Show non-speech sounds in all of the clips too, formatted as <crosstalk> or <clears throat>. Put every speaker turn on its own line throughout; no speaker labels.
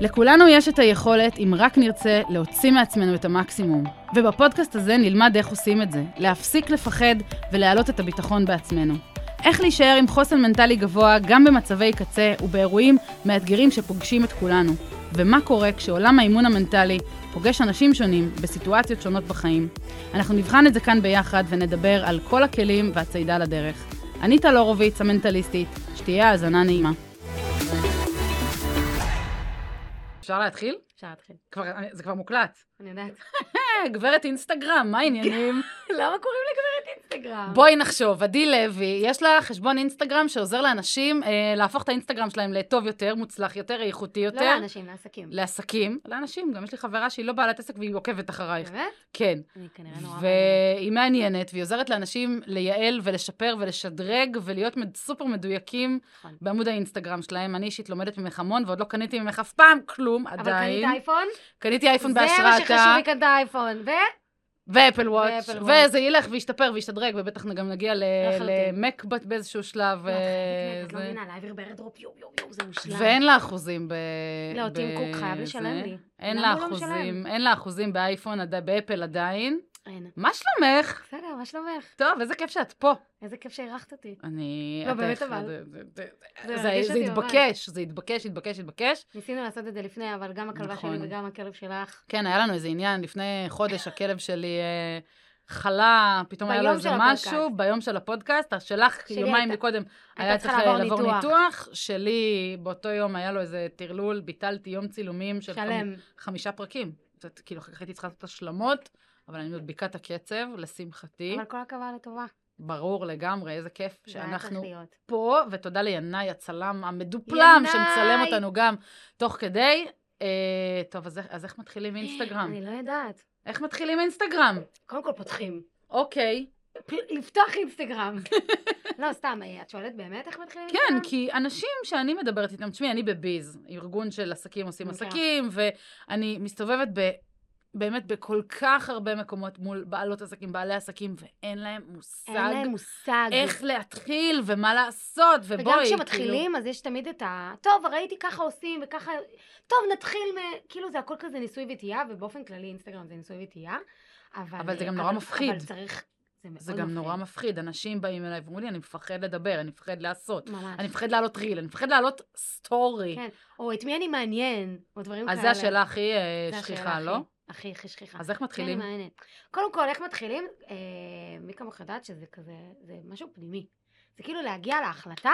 לכולנו יש את היכולת, אם רק נרצה, להוציא מעצמנו את המקסימום. ובפודקאסט הזה נלמד איך עושים את זה, להפסיק לפחד ולהעלות את הביטחון בעצמנו. איך להישאר עם חוסן מנטלי גבוה גם במצבי קצה ובאירועים מאתגרים שפוגשים את כולנו. ומה קורה כשעולם האימון המנטלי פוגש אנשים שונים בסיטואציות שונות בחיים. אנחנו נבחן את זה כאן ביחד ונדבר על כל הכלים והצעידה לדרך. אני טל הורוביץ, המנטליסטית, שתהיה האזנה נעימה. אפשר להתחיל?
אפשר להתחיל.
כבר, זה כבר מוקלט.
אני יודעת.
גברת אינסטגרם, מה העניינים?
<laughs> למה קוראים לגברת אינסטגרם?
בואי נחשוב, עדי לוי, יש לה חשבון אינסטגרם שעוזר לאנשים אה, להפוך את האינסטגרם שלהם לטוב יותר, מוצלח יותר, איכותי יותר.
לא לאנשים, לעסקים.
לעסקים, לאנשים, גם יש לי חברה שהיא לא בעלת עסק והיא עוקבת אחרייך.
באמת?
כן.
אני כנראה נורא... מעניינת.
והיא מעניינת, והיא עוזרת לאנשים לייעל ולשפר ולשדרג ולהיות מד- סופר מדויקים
נכון.
בעמוד האינסטגרם שלהם. אני אישית לומדת ממך המון, ועוד לא קניתי ממך אף פעם כלום, עדיין.
אבל קנית אייפון?
קניתי אייפון
זה מה שחשוב
בהשראתה,
לי קנית אייפון. ו...
ואפל וואץ',
ואפל וואץ'.
וזה ילך וישתפר וישתדרג, ובטח גם נגיע ל-
לחלוטין.
למקבט באיזשהו שלב.
לא, את
אה,
חייבת, את לא
זה.
מבינה, להעביר בארדרופ יום יום יום, זה מושלם.
ואין לה אחוזים ב...
לא,
ב-
טים קוק חייב
זה.
לשלם לי.
אין
למה
לה
הוא לא
אחוזים,
משלם?
אין לה אחוזים באייפון, עדי- באפל עדיין.
אין.
מה שלומך?
בסדר, מה שלומך?
טוב, איזה כיף שאת פה.
איזה כיף שאירחת אותי.
אני...
לא,
את
באמת,
אחד-
אבל.
זה- זה- זה-
זה
זה-
מרגש
זה
אותי ממש.
התבקש, זה התבקש, התבקש, התבקש.
ניסינו לעשות את זה לפני, אבל גם הכלבה
נכון.
שלי וגם הכלב שלך.
כן, היה לנו איזה עניין, לפני חודש הכלב שלי אה, חלה, פתאום היה לו
ביום
איזה
של
משהו,
הפודקאסט.
ביום של הפודקאסט, שלך
שלי
יומיים
הייתה-
מקודם היה
הייתה
צריך אה,
צריכה לעבור
לעבור
ניתוח.
ניתוח, שלי באותו יום היה לו איזה טרלול, ביטלתי יום צילומים של חמ-
שלם.
חמישה פרקים. זאת, כאילו, אחר כך הייתי צריכה לעשות השלמות, אבל אני עוד בקעת הקצב, לשמחתי.
אבל כל הכבוד לטובה.
ברור לגמרי, איזה כיף
זה היה צריך
שאנחנו
להיות.
פה, ותודה לינאי הצלם המדופלם
ינאי!
שמצלם אותנו גם תוך כדי. אה, טוב, אז, איך- אז איך מתחילים אינסטגרם?
אני לא יודעת.
איך מתחילים אינסטגרם?
קודם כל פותחים.
אוקיי.
פ- לפתוח
<laughs>
אינסטגרם. לא, סתם, אה, את שואלת באמת איך מתחילים
כן, כי אנשים שאני מדברת איתם, תשמעי, אני בביז, ארגון של עסקים עושים
מכירה.
עסקים, ואני מסתובבת ב... באמת בכל כך הרבה מקומות מול בעלות עסקים, בעלי עסקים, ואין להם מושג
אין להם מושג.
איך להתחיל ומה לעשות, ובואי, כאילו,
וגם כשמתחילים, אז יש תמיד את ה... טוב, ראיתי ככה עושים וככה... טוב, נתחיל מ... כאילו, זה הכל כזה ניסוי וטעייה, ובאופן כללי אינסטגרם זה ניסוי וטעייה. אבל...
אבל זה גם
אה,
נורא
אבל-
מפחיד.
אבל צריך... זה מאוד
זה גם נורא מפחיד, אנשים באים אליי ואומרים לי, אני מפחד לדבר, אני מפחד לעשות,
ממש.
אני מפחד להעלות ריל, אני מפחד להעלות סטורי.
כן. או את מי אני מעניין, או דברים כאלה.
אז זו השאלה הכי אה,
זה השאלה
שכיחה,
הכי-
לא?
הכי הכי שכיחה.
אז איך
כן, אני
מתחילים?
מעניינת. קודם כל, איך מתחילים? אה, מי כמוך יודעת שזה כזה, זה משהו פנימי. זה כאילו להגיע להחלטה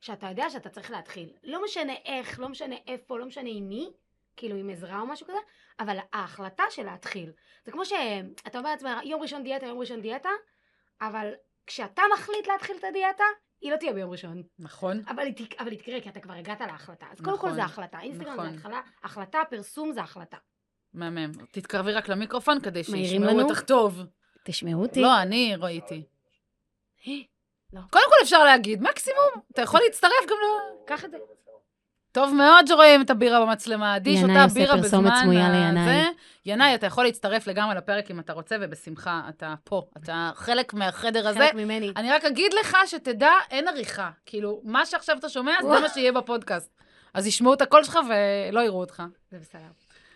שאתה יודע שאתה צריך להתחיל. לא משנה איך, לא משנה איפה, לא משנה עם מי, כאילו עם עזרה או משהו כזה, אבל ההחלטה של להתחיל. זה כמו שאתה אומר לעצמך, יום ראשון דיאטה, יום ראשון דיאטה, אבל כשאתה מחליט להתחיל את הדיאטה, היא לא תהיה ביום ראשון.
נכון.
אבל היא, תק- אבל היא תקרה, כי אתה כבר הגעת להחלטה. אז קודם
נכון.
כל זה החלטה. אינסטגרם
נכון.
זה התחלה, החלטה, פרסום זה החלטה.
מהמם. תתקרבי רק למיקרופון כדי
מעירים
שישמעו
לנו?
אותך טוב.
תשמעו אותי.
<gasps> לא, אני ראיתי.
לא.
קודם כל אפשר להגיד, מקסימום, אתה יכול להצטרף גם ל...
קח את זה.
טוב מאוד שרואים את הבירה במצלמה. עדי
ינאי
שותה
עושה
בירה בזמן...
פרסומת סמויה
ה-
לינאי.
זה. ינאי, אתה יכול להצטרף לגמרי לפרק אם אתה רוצה, ובשמחה, אתה פה. אתה חלק מהחדר הזה.
חלק ממני.
אני רק אגיד לך שתדע, אין עריכה. כאילו, מה שעכשיו אתה שומע, זה
וואו.
מה שיהיה בפודקאסט. אז ישמעו את הקול שלך ולא יראו אותך.
זה בסדר.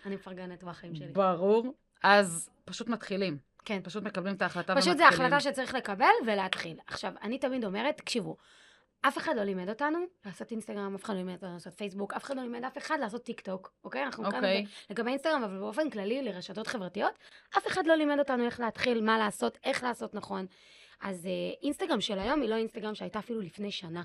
אני מפרגנת בחיים שלי.
ברור. אז פשוט מתחילים.
כן.
פשוט מקבלים את ההחלטה
פשוט זו
ומתחילים.
החלטה שצריך לקבל ולהתחיל. עכשיו, אני תמיד אומרת, תקשיבו, אף אחד לא לימד אותנו לעשות אינסטגרם, אף אחד לא לימד אותנו לעשות פייסבוק, אף אחד לא לימד אף אחד לעשות טיק טוק, אוקיי? אנחנו כאן
אוקיי.
לגבי אינסטגרם, אבל באופן כללי לרשתות חברתיות, אף אחד לא לימד אותנו איך להתחיל, מה לעשות, איך לעשות נכון. אז אה, אינסטגרם של היום היא לא אינסטגרם שהייתה אפילו לפני שנה,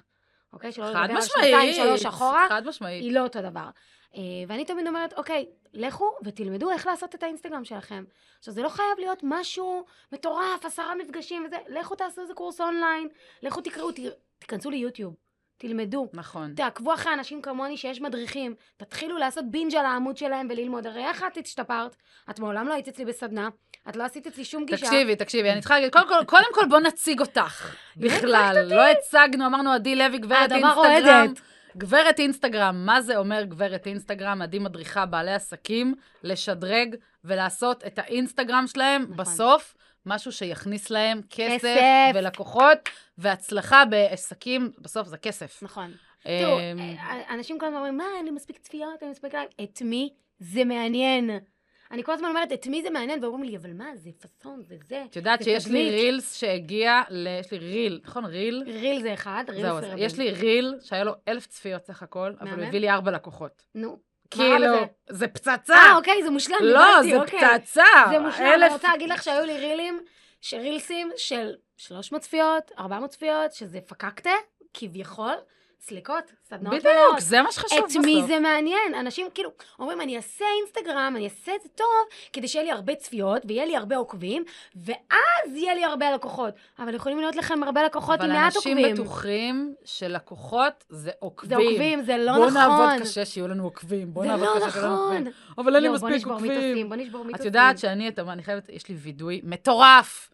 אוקיי? שלא
חד
לדבר על שנתיים,
משמעית.
שלוש אחורה.
חד משמעית.
היא לא אותו דבר. אה, ואני תמיד אומרת, אוקיי, לכו ותלמדו איך לעשות את האינסטגרם שלכם. עכשיו, זה לא חייב להיות משהו מטורף, עשרה מפגשים וזה, לכו תעשו איזה קורס אונליין, לכו תקראו, ת- תיכנסו ליוטיוב, תלמדו.
נכון.
תעקבו אחרי אנשים כמוני שיש מדריכים, תתחילו לעשות בינג' על העמוד שלהם וללמוד. הרי איך את השתפרת? את מעולם לא היית אצלי בסדנה, את לא עשית אצלי שום גישה.
תקשיבי, תקשיבי, אני צריכה להגיד, קודם כל, קודם כל בוא נציג
<laughs>
אותך.
לא
בכלל, לא הצגנו, אמרנו עדי לוי, גברת
האדמה
אינסטגרם.
רועדת.
גברת אינסטגרם, מה זה אומר גברת אינסטגרם? עדי מדריכה בעלי עסקים לשדרג ולעשות את האינסטגרם שלהם
נכון.
בסוף, משהו שיכניס להם כסף
כסף.
ולקוחות, והצלחה בעסקים, בסוף זה כסף.
נכון. תראו,
אמ,
אה, אנשים כל הזמן אומרים, מה, אין לי מספיק צפיות, אין לי מספיק... לייק." את מי זה מעניין? אני כל הזמן אומרת, את מי זה מעניין? ואומרים לי, אבל מה, זה פאסון, זה זה.
את יודעת
זה
שיש לי
תדמית.
רילס שהגיע ל... יש לי ריל, נכון? ריל?
ריל זה אחד, ריל
זהו, אז
זה
יש לי ריל שהיה לו אלף צפיות סך הכל, אבל הוא
מהמם.
הביא לי ארבע לקוחות.
נו. מה רע
כאילו,
בזה?
זה פצצה.
אה, אוקיי, זה מושלם,
לא,
הבנתי,
זה
אוקיי.
פצצה.
זה מושלם,
אלף-
אני רוצה להגיד לך שהיו לי רילים, שרילסים של 300 צפיות, 400 צפיות, שזה פקקטה, כביכול, סליקות, סדנאות
בדיוק, זה מה שחשוב בסוף.
את מי זה מעניין? אנשים כאילו אומרים, אני אעשה אינסטגרם, אני אעשה את זה טוב, כדי שיהיה לי הרבה צפיות ויהיה לי הרבה עוקבים, ואז יהיה לי הרבה לקוחות. אבל יכולים להיות לכם הרבה לקוחות עם מעט עוקבים.
אבל אנשים בטוחים שלקוחות זה עוקבים.
זה עוקבים, זה לא
בוא
נכון.
נעבוד קשה שיהיו לנו עוקבים. בוא
זה
נעבוד
לא
קשה שיהיו לנו
נכון.
עוקבים. אבל אין לי
לא, בוא
מספיק
נשבור
עוקבים.
מיתוסים, בוא נשבור מיתוסים.
את יודעת שאני, את, אני חייבת, יש לי וידוי מטורף.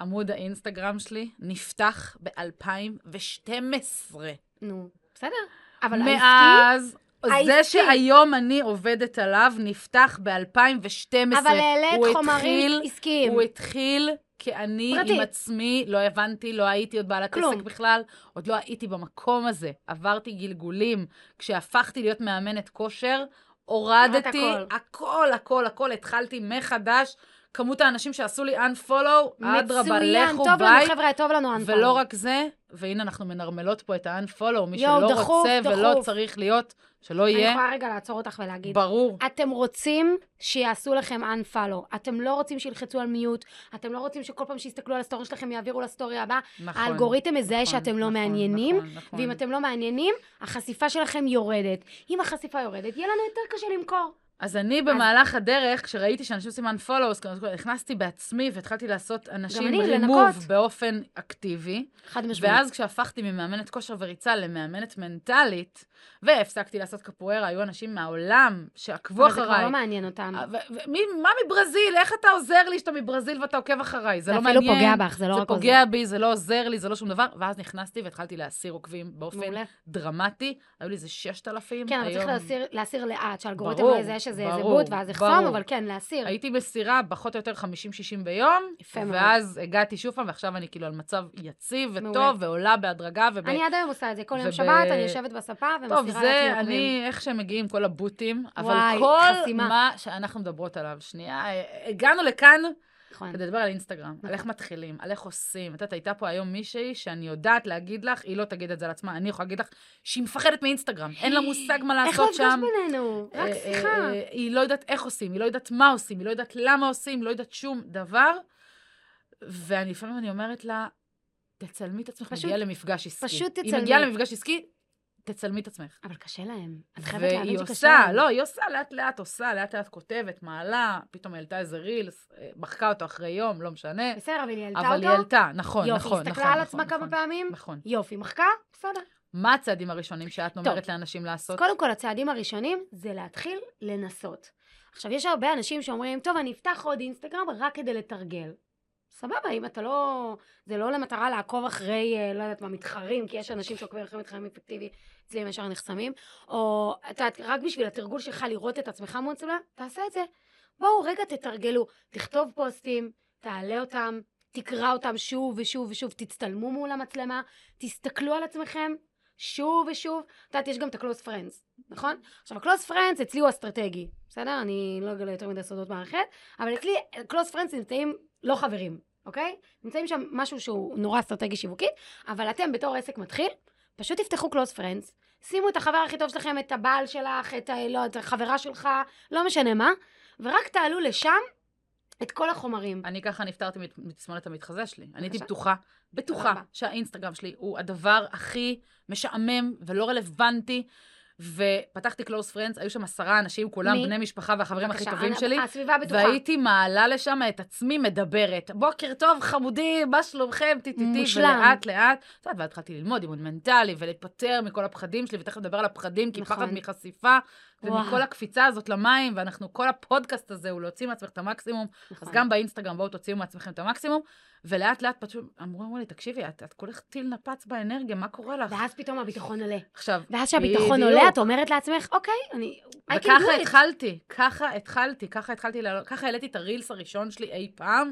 עמוד האינסטגרם שלי נפתח ב-2012.
נו, בסדר. אבל העסקי...
מאז, זה
העסקי.
שהיום אני עובדת עליו נפתח ב-2012.
אבל העלית חומרים עסקיים.
הוא התחיל כי אני
פרטי.
עם עצמי, לא הבנתי, לא הייתי עוד בעלת
כלום.
עסק בכלל, עוד לא הייתי במקום הזה. עברתי גלגולים. כשהפכתי להיות מאמנת כושר, הורדתי
הכל.
הכל, הכל, הכל, התחלתי מחדש. כמות האנשים שעשו לי unfollow, אדרבה,
מצוין,
לכו
טוב לנו
ביי.
חבר'ה, טוב לנו אנפן.
ולא רק זה, והנה אנחנו מנרמלות פה את ה-unfollow, מי
יואו,
שלא
דחוף,
רוצה ולא
דחוף.
צריך להיות, שלא
אני
יהיה,
יכולה רגע לעצור אותך ולהגיד.
ברור.
אתם רוצים שיעשו לכם unfollow, אתם לא רוצים שילחצו על מיוט, אתם לא רוצים שכל פעם שיסתכלו על הסטורי שלכם יעבירו לסטורי הבא,
נכון.
האלגוריתם מזהה
נכון,
שאתם לא
נכון,
מעניינים,
נכון, נכון.
ואם אתם לא מעניינים, החשיפה שלכם יורדת. אם החשיפה יורדת, יהיה לנו יותר קשה למכור.
אז אני במהלך הדרך, כשראיתי שאנשים עושים unfollow, אז כאילו, נכנסתי בעצמי והתחלתי לעשות אנשים
אני,
רימוב
לנקות.
באופן אקטיבי.
חד משמעית.
ואז כשהפכתי ממאמנת כושר וריצה למאמנת מנטלית, והפסקתי לעשות קפוארה, היו אנשים מהעולם שעקבו
אבל זה כבר
אחריי. אה,
לא מעניין אותם.
אמ, ו- ו- מי- מה מברזיל? איך אתה עוזר לי שאתה מברזיל ואתה עוקב אחריי? זה לא מעניין.
אפילו פוגע בך, זה לא
זה
רק עוזר.
פוגע בי, זה לא עוזר לי, זה לא שום דבר. ואז נכנסתי והתחלתי להסיר עוקבים באופן
מעולה.
דרמטי. היו לי איזה 6,000.
כן, אבל צריך
היום-
להסיר- להסיר לאט, שהאלגוריתם
ברור,
לא יזהה שזה איזה
ברור,
בוט, ואז יחסום,
ברור.
אבל כן, להסיר.
הייתי מסירה פחות או יותר 50-60 ביום,
יפה מאוד.
ואז הגעתי שוב פעם, ועכשיו אני כאילו על מצב יציב
מעולה.
וטוב, ועולה בהדרגה וב...
אני עד היום עושה את זה, כל יום
וב-
שבת, אני יושבת בספה ומסירה
טוב,
לעצמי
זה
עוקבים.
אני, איך שהם מגיעים כל הבוטים, אבל
וואי,
כל
חסימה.
מה שאנחנו מדברות עליו, שנייה, אה, הגענו לכאן
נכון.
כדי לדבר על אינסטגרם, על איך מתחילים, על איך עושים. את יודעת, הייתה פה היום מישהי שאני יודעת להגיד לך, היא לא תגיד את זה על עצמה, אני יכולה להגיד לך שהיא מפחדת מאינסטגרם, אין לה מושג מה
איך
לעשות
לא
שם.
נפגש בינינו? רק
אה,
שיחה.
אה, אה, היא לא יודעת איך עושים, היא לא יודעת מה עושים, היא לא יודעת למה עושים, היא לא יודעת שום דבר. ואני לפעמים אני אומרת לה, תצלמי את עצמך,
פשוט-
מגיעה למפגש עסקי.
פשוט
היא
תצלמי.
מגיעה למפגש עסקי, תצלמי את עצמך.
אבל קשה להם. את חייבת
והיא
להאמין שקשה
עושה,
להם.
לא, היא עושה לאט-לאט, עושה, לאט-לאט כותבת, מעלה, פתאום העלתה איזה רילס, אה, מחקה אותו אחרי יום, לא משנה.
בסדר, אבל היא העלתה אותו?
אבל היא העלתה, נכון, נכון,
יופי,
נכון.
היא הסתכלה על
נכון,
עצמה כמה
נכון,
פעמים?
נכון.
יופי, מחקה? בסדר.
מה הצעדים הראשונים שאת אומרת לאנשים
אז
לעשות?
קודם כל, הצעדים הראשונים זה להתחיל לנסות. עכשיו, יש הרבה אנשים שאומרים, טוב, אני אפתח עוד אינסטגרם רק כדי לתרגל. סבבה, אם אתה לא... זה לא למטרה לעקוב אחרי, אה, לא יודעת מה, מתחרים, כי יש אנשים שעוקבים אחרי מתחרים אפקטיבי, אצלי הם ישר נחסמים, או אתה רק בשביל התרגול שלך לראות את עצמך מול סלולה, תעשה את זה. בואו, רגע, תתרגלו. תכתוב פוסטים, תעלה אותם, תקרא אותם שוב ושוב ושוב, תצטלמו מול המצלמה, תסתכלו על עצמכם שוב ושוב. את יודעת, יש גם את ה-close friends, נכון? עכשיו, ה-close friends אצלי הוא אסטרטגי, בסדר? אני לא אגלה יותר מדי סודות מערכת, אבל אצלי close friends נמצאים לא חברים, אוקיי? נמצאים שם משהו שהוא נורא אסטרטגי שיווקי, אבל אתם בתור עסק מתחיל, פשוט תפתחו close friends, שימו את החבר הכי טוב שלכם, את הבעל שלך, את, ה- לא, את החברה שלך, לא משנה מה, ורק תעלו לשם את כל החומרים.
אני ככה נפטרתי מת- מתסמונת המתחזה שלי. אני הייתי
בבקשה.
בטוחה, בטוחה
רבה.
שהאינסטגרם שלי הוא הדבר הכי משעמם ולא רלוונטי. ופתחתי קלוס פרנדס, היו שם עשרה אנשים, כולם
מי?
בני משפחה והחברים הכי
בבקשה,
טובים
אנ-
שלי.
הסביבה בטוחה.
והייתי מעלה לשם את עצמי מדברת. בוקר טוב, חמודי, מה שלומכם? טיטיטי,
מושלם.
ולאט לאט. את יודעת, והתחלתי ללמוד אימון מנטלי ולהיפטר מכל הפחדים שלי, ותכף נדבר על הפחדים, כי
נכון.
פחד מחשיפה,
וואו.
ומכל הקפיצה הזאת למים, ואנחנו, כל הפודקאסט הזה הוא להוציא מעצמך את המקסימום. אז
נכון.
גם באינסטגרם בואו תוציאו מעצמכם את המקסימום, ולאט לאט פשוט אמרו, אמרו לי, תקשיבי, את, את כולך טיל נפץ באנרגיה, מה קורה לך?
ואז פתאום הביטחון עולה.
עכשיו,
ואז כשהביטחון
בדיוק.
עולה, את אומרת לעצמך, אוקיי, אני... I can do
וככה
it."
התחלתי, ככה התחלתי, ככה התחלתי לעלות, ככה העליתי את הרילס הראשון שלי אי פעם.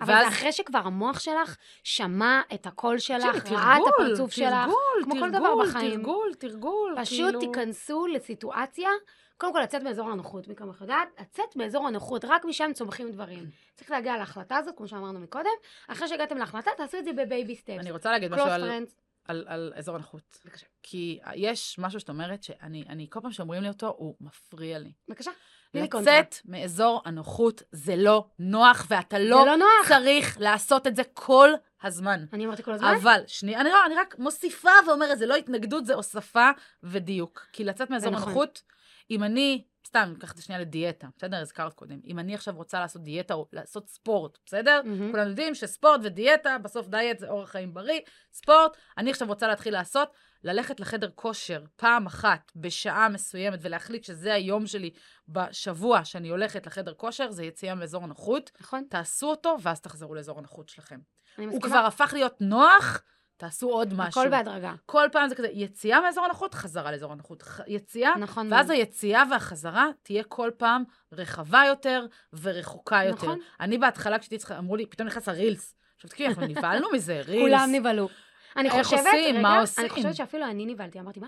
אבל
ואז-
זה אחרי שכבר המוח שלך שמע את הקול שלך,
תקשיבי,
ראה את
כן, תרגול,
הפרצוף שלך.
תרגול,
כמו כל דבר
תרגול,
בחיים.
תרגול, תרגול.
פשוט
כאילו-
תיכנסו לסיטואציה, קודם כל לצאת מאזור הנוחות, מי כמוך יודעת, לצאת מאזור הנוחות, רק משם צומחים דברים. צריך להגיע להחלטה הזאת, כמו שאמרנו מקודם, אחרי שהגעתם להחלטה, תעשו את זה בבייבי סטפס.
אני רוצה להגיד משהו
קלוס
על,
פרנדס,
על, על אזור הנוחות.
בבקשה.
כי יש משהו שאת אומרת שאני, אני, כל פעם שאומרים לי אותו, הוא מפריע לי.
בבקשה. תני לי קונטרה.
לצאת מאזור הנוחות זה לא נוח, ואתה לא,
זה לא נוח.
צריך לעשות את זה כל הזמן.
אני אמרתי כל הזמן,
אבל, שנייה, אני, לא- אני רק מוסיפה ואומרת, זה לא התנגדות, זה הוספה ודיוק. כי לצאת מאזור
נכון.
הנוחות, אם אני, סתם, אני אקח את זה שנייה לדיאטה, בסדר? הזכרת קודם. אם אני עכשיו רוצה לעשות דיאטה או לעשות ספורט, בסדר?
מהמם.
כולנו יודעים שספורט ודיאטה, בסוף דיאט זה אורח חיים בריא, ספורט, אני עכשיו רוצה להתחיל לעשות, ללכת לחדר כושר פעם אחת בשעה מסוימת ולהחליט שזה היום שלי בשבוע שאני הולכת לחדר כושר, זה יציאה מאזור הנוחות,
נכון?
תעשו אותו ואז תחזרו לאזור הנוחות שלכם.
אני
הוא
מסכימה.
כבר הפך להיות נוח, תעשו עוד משהו.
הכל בהדרגה.
כל פעם זה כזה, יציאה מאזור הנוחות, חזרה לאזור הנוחות. ח- יציאה,
נכון.
ואז
מאוד.
היציאה והחזרה תהיה כל פעם רחבה יותר ורחוקה יותר.
נכון.
אני בהתחלה, כשהייתי צריכה, אמרו לי, פתאום נכנס הרילס. עכשיו תקשיבי, אנחנו נבהלנו
<laughs>
מזה, רילס.
כולם נבהלו. אני
איך
חושבת,
עושים?
רגע,
מה
אני
עושים?
חושבת שאפילו אני נבהלתי, אמרתי, מה?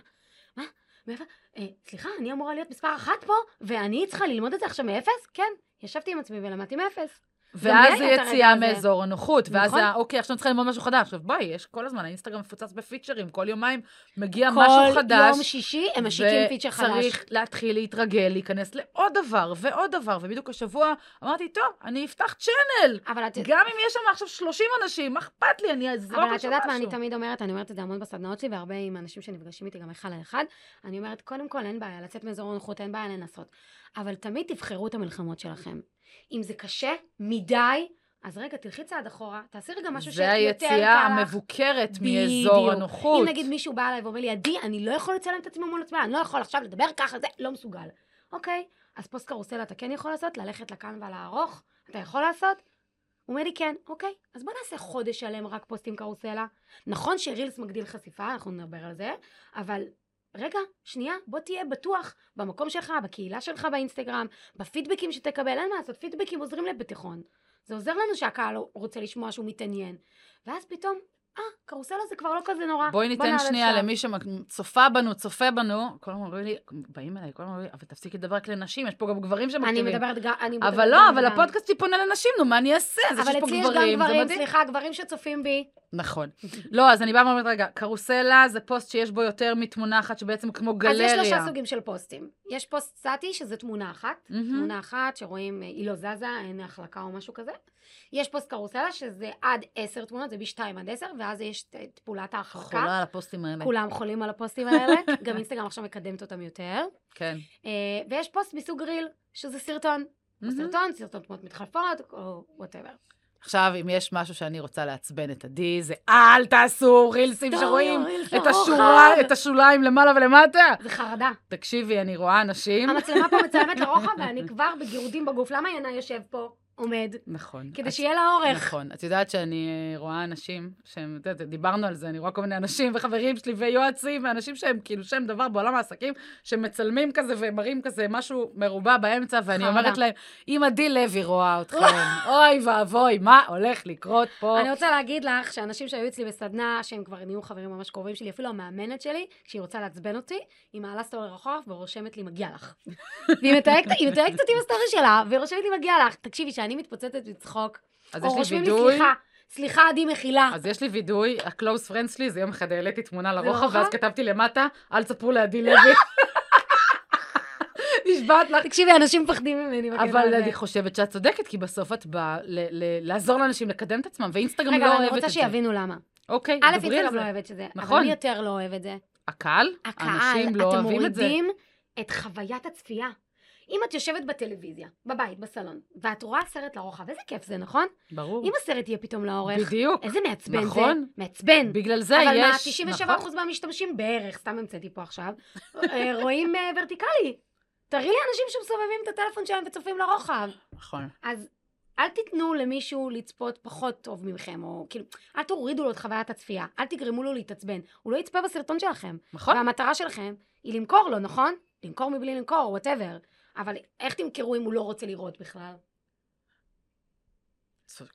מה? מאיפה? אה, סליחה, אני אמורה להיות מספר אחת פה, ואני צריכה ללמוד את זה עכשיו מאפס? כן, ישבתי עם עצמי ולמדתי מאפס.
ואז
גם לי
זה
היה את הרגע
יציאה
הזה.
מאזור הנוחות, ואז
נכון.
זה, היה, אוקיי, עכשיו אני צריכה ללמוד משהו חדש. עכשיו בואי, יש כל הזמן, האינסטגרם מפוצץ בפיצ'רים, כל יומיים מגיע משהו
כל
חדש.
יום שישי הם משיקים פיצ'ר חדש.
וצריך להתחיל להתרגל, להיכנס לעוד דבר ועוד דבר. ובדיוק השבוע אמרתי, טוב, אני אפתח צ'אנל.
אבל את
גם אם יש שם עכשיו 30 אנשים, מה אכפת לי? אני אזרוק
אבל
לשם
את יודעת מה
משהו.
אני תמיד אומרת, אני אומרת את זה המון בסדנאות שלי, והרבה עם אנשים שנפגשים איתי גם אחד על אחד, אני אומרת, קודם כל אין בעיה לצאת מאזור הנוחות, אין בעיה לנסות, אבל תמיד תבחרו את המלחמות שלכם. אם זה קשה מדי, אז רגע, תלכי צעד אחורה, תעשי רגע משהו
זה
שיותר קל לך.
היציאה המבוקרת מאזור
בדיוק.
הנוחות.
אם נגיד מישהו בא אליי ואומר לי, עדי, אני לא יכול לצלם את עצמי מול עצמי, אני לא יכול עכשיו לדבר ככה, זה לא מסוגל. אוקיי, אז פוסט קרוסלה אתה כן יכול לעשות? ללכת לקנווה לארוך? אתה יכול לעשות? הוא אומר לי, כן, אוקיי, אז בוא נעשה חודש שלם רק פוסטים קרוסלה. נכון שרילס מגדיל חשיפה, אנחנו נדבר על זה, אבל רגע, שנייה, בוא תהיה בטוח במקום שלך, בקהילה שלך באינסטגרם, בפידבקים שתקבל, אין מה לעשות, פידבקים עוזרים לבטיחון. זה עוזר לנו שהקהל רוצה לשמוע שהוא מתעניין. ואז פתאום, אה, קרוסלה זה כבר לא כזה נורא.
בואי ניתן
נעלה
שנייה
לשם."
למי שצופה בנו, צופה בנו. כל הזמן אומרים לי, באים אליי, כל הזמן אומרים לי, אבל תפסיקי לדבר רק לנשים, יש פה גם גברים
אני
שמקשיבים.
מדברת גם, אני מדברת
אבל לא,
גם
אבל
וגם.
הפודקאסט שלי פונה לנשים, נו, מה אני אעשה? זה שיש
אבל
פה
אצלי יש גם
גברים, זה
גברים,
מדהים.
סליחה, גברים שצופים בי.
נכון. לא, אז אני באה ואומרת, רגע, קרוסלה זה פוסט שיש בו יותר מתמונה אחת, שבעצם כמו גלריה.
אז יש שלושה סוגים של פוסטים. יש פוסט סטטי, שזה תמונה אחת.
מהמם.
תמונה אחת שרואים, אה, היא לא זזה, אין החלקה או משהו כזה. יש פוסט קרוסלה, שזה עד עשר תמונות, זה משתיים עד עשר, ואז יש את פעולת ההחלקה.
חולה על הפוסטים האלה.
כולם חולים על
<laughs>
הפוסטים האלה, גם אינסטגרם עכשיו מקדמת אותם יותר.
כן.
אה, ויש פוסט מסוג ריל, שזה סרטון. או
מהמם.
סרטון, סרטון תמונות מתחלפות, או
<laughs>
וואטאבר.
עכשיו, אם יש משהו שאני רוצה לעצבן את עדי, זה אל תעשו רילסים
לא,
שרואים את, השורה, את השוליים למעלה ולמטה.
זה חרדה.
תקשיבי, אני רואה אנשים.
המצלמה פה מצלמת לרוחב, ואני כבר בגירודים בגוף. למה ינאי יושב פה, עומד?
נכון.
כדי
את-
שיהיה לה אורך.
נכון. את יודעת שאני אה, רואה אנשים שהם, את יודעת, דיברנו על זה, אני רואה כל מיני אנשים וחברים שלי ויועצים, ואנשים שהם כאילו שם דבר בעולם העסקים, שמצלמים כזה ומראים כזה משהו מרובע באמצע, ואני
חרדה.
אומרת להם, אם עדי לוי רואה אתכם, אוי ואבוי, מה הולך לקרות פה?
אני רוצה להגיד לך שאנשים שהיו אצלי בסדנה, שהם כבר נהיו חברים ממש קרובים שלי, אפילו המאמנת שלי, כשהיא רוצה לעצבן אותי, היא מעלה סטורי רחוב ורושמת לי מגיע
<laughs>
לך. והיא מתייגת היא מתייגת אותי בסטורי שלה, והיא רושמת לי מגיע לך. תקשיבי, שאני מתפוצצת מצחוק,
אז
או
יש לי
רושמים לי
וידוי.
סליחה, סליחה עדי מחילה.
אז יש לי וידוי, ה-close friends שלי, זה יום אחד העליתי תמונה לרוחב,
לרוחב?
ואז כתבתי למטה, אל תספרו לעדי לוי.
<laughs>
נשבעת לך.
תקשיבי, אנשים מפחדים ממני. בקטע
אבל
הזה.
אני חושבת שאת צודקת, כי בסוף את באה ל- ל- לעזור לאנשים לקדם את עצמם, ואינסטגרם לא
רגע,
אוהבת את
אבל
זה.
אני רוצה שיבינו למה.
אוקיי,
א',
דברי על
אינסטגרם
זה.
לא אוהב את זה, אבל
נכון.
מי יותר לא אוהב את זה?
הקהל,
הקהל,
אנשים לא
אתם
אוהבים את זה.
מורידים את חוויית הצפייה. אם את יושבת בטלוויזיה, בבית, בסלון, ואת רואה סרט לרוחב, איזה כיף זה, נכון?
ברור.
אם הסרט יהיה פתאום לאורך,
בדיוק.
איזה מעצבן זה.
נכון.
מעצבן.
בגלל זה
אבל מה,
יש...
97%
נכון.
מהמשתמשים בערך, סתם המצאתי פה עכשיו, אה, רואים אה, ורטיקלי. תראי לי אנשים שמסובבים את הטלפון שלהם וצופים לרוחב.
נכון.
אז אל תיתנו למישהו לצפות פחות טוב ממכם, או כאילו, אל תורידו לו את חוויית הצפייה, אל תגרמו לו להתעצבן. הוא לא יצפה בסרטון שלכם.
נכון.
והמטרה שלכם היא למכור לו, נכון? למכור מבלי למכור, וואטאבר. אבל איך תמכרו אם הוא לא רוצה לראות בכלל?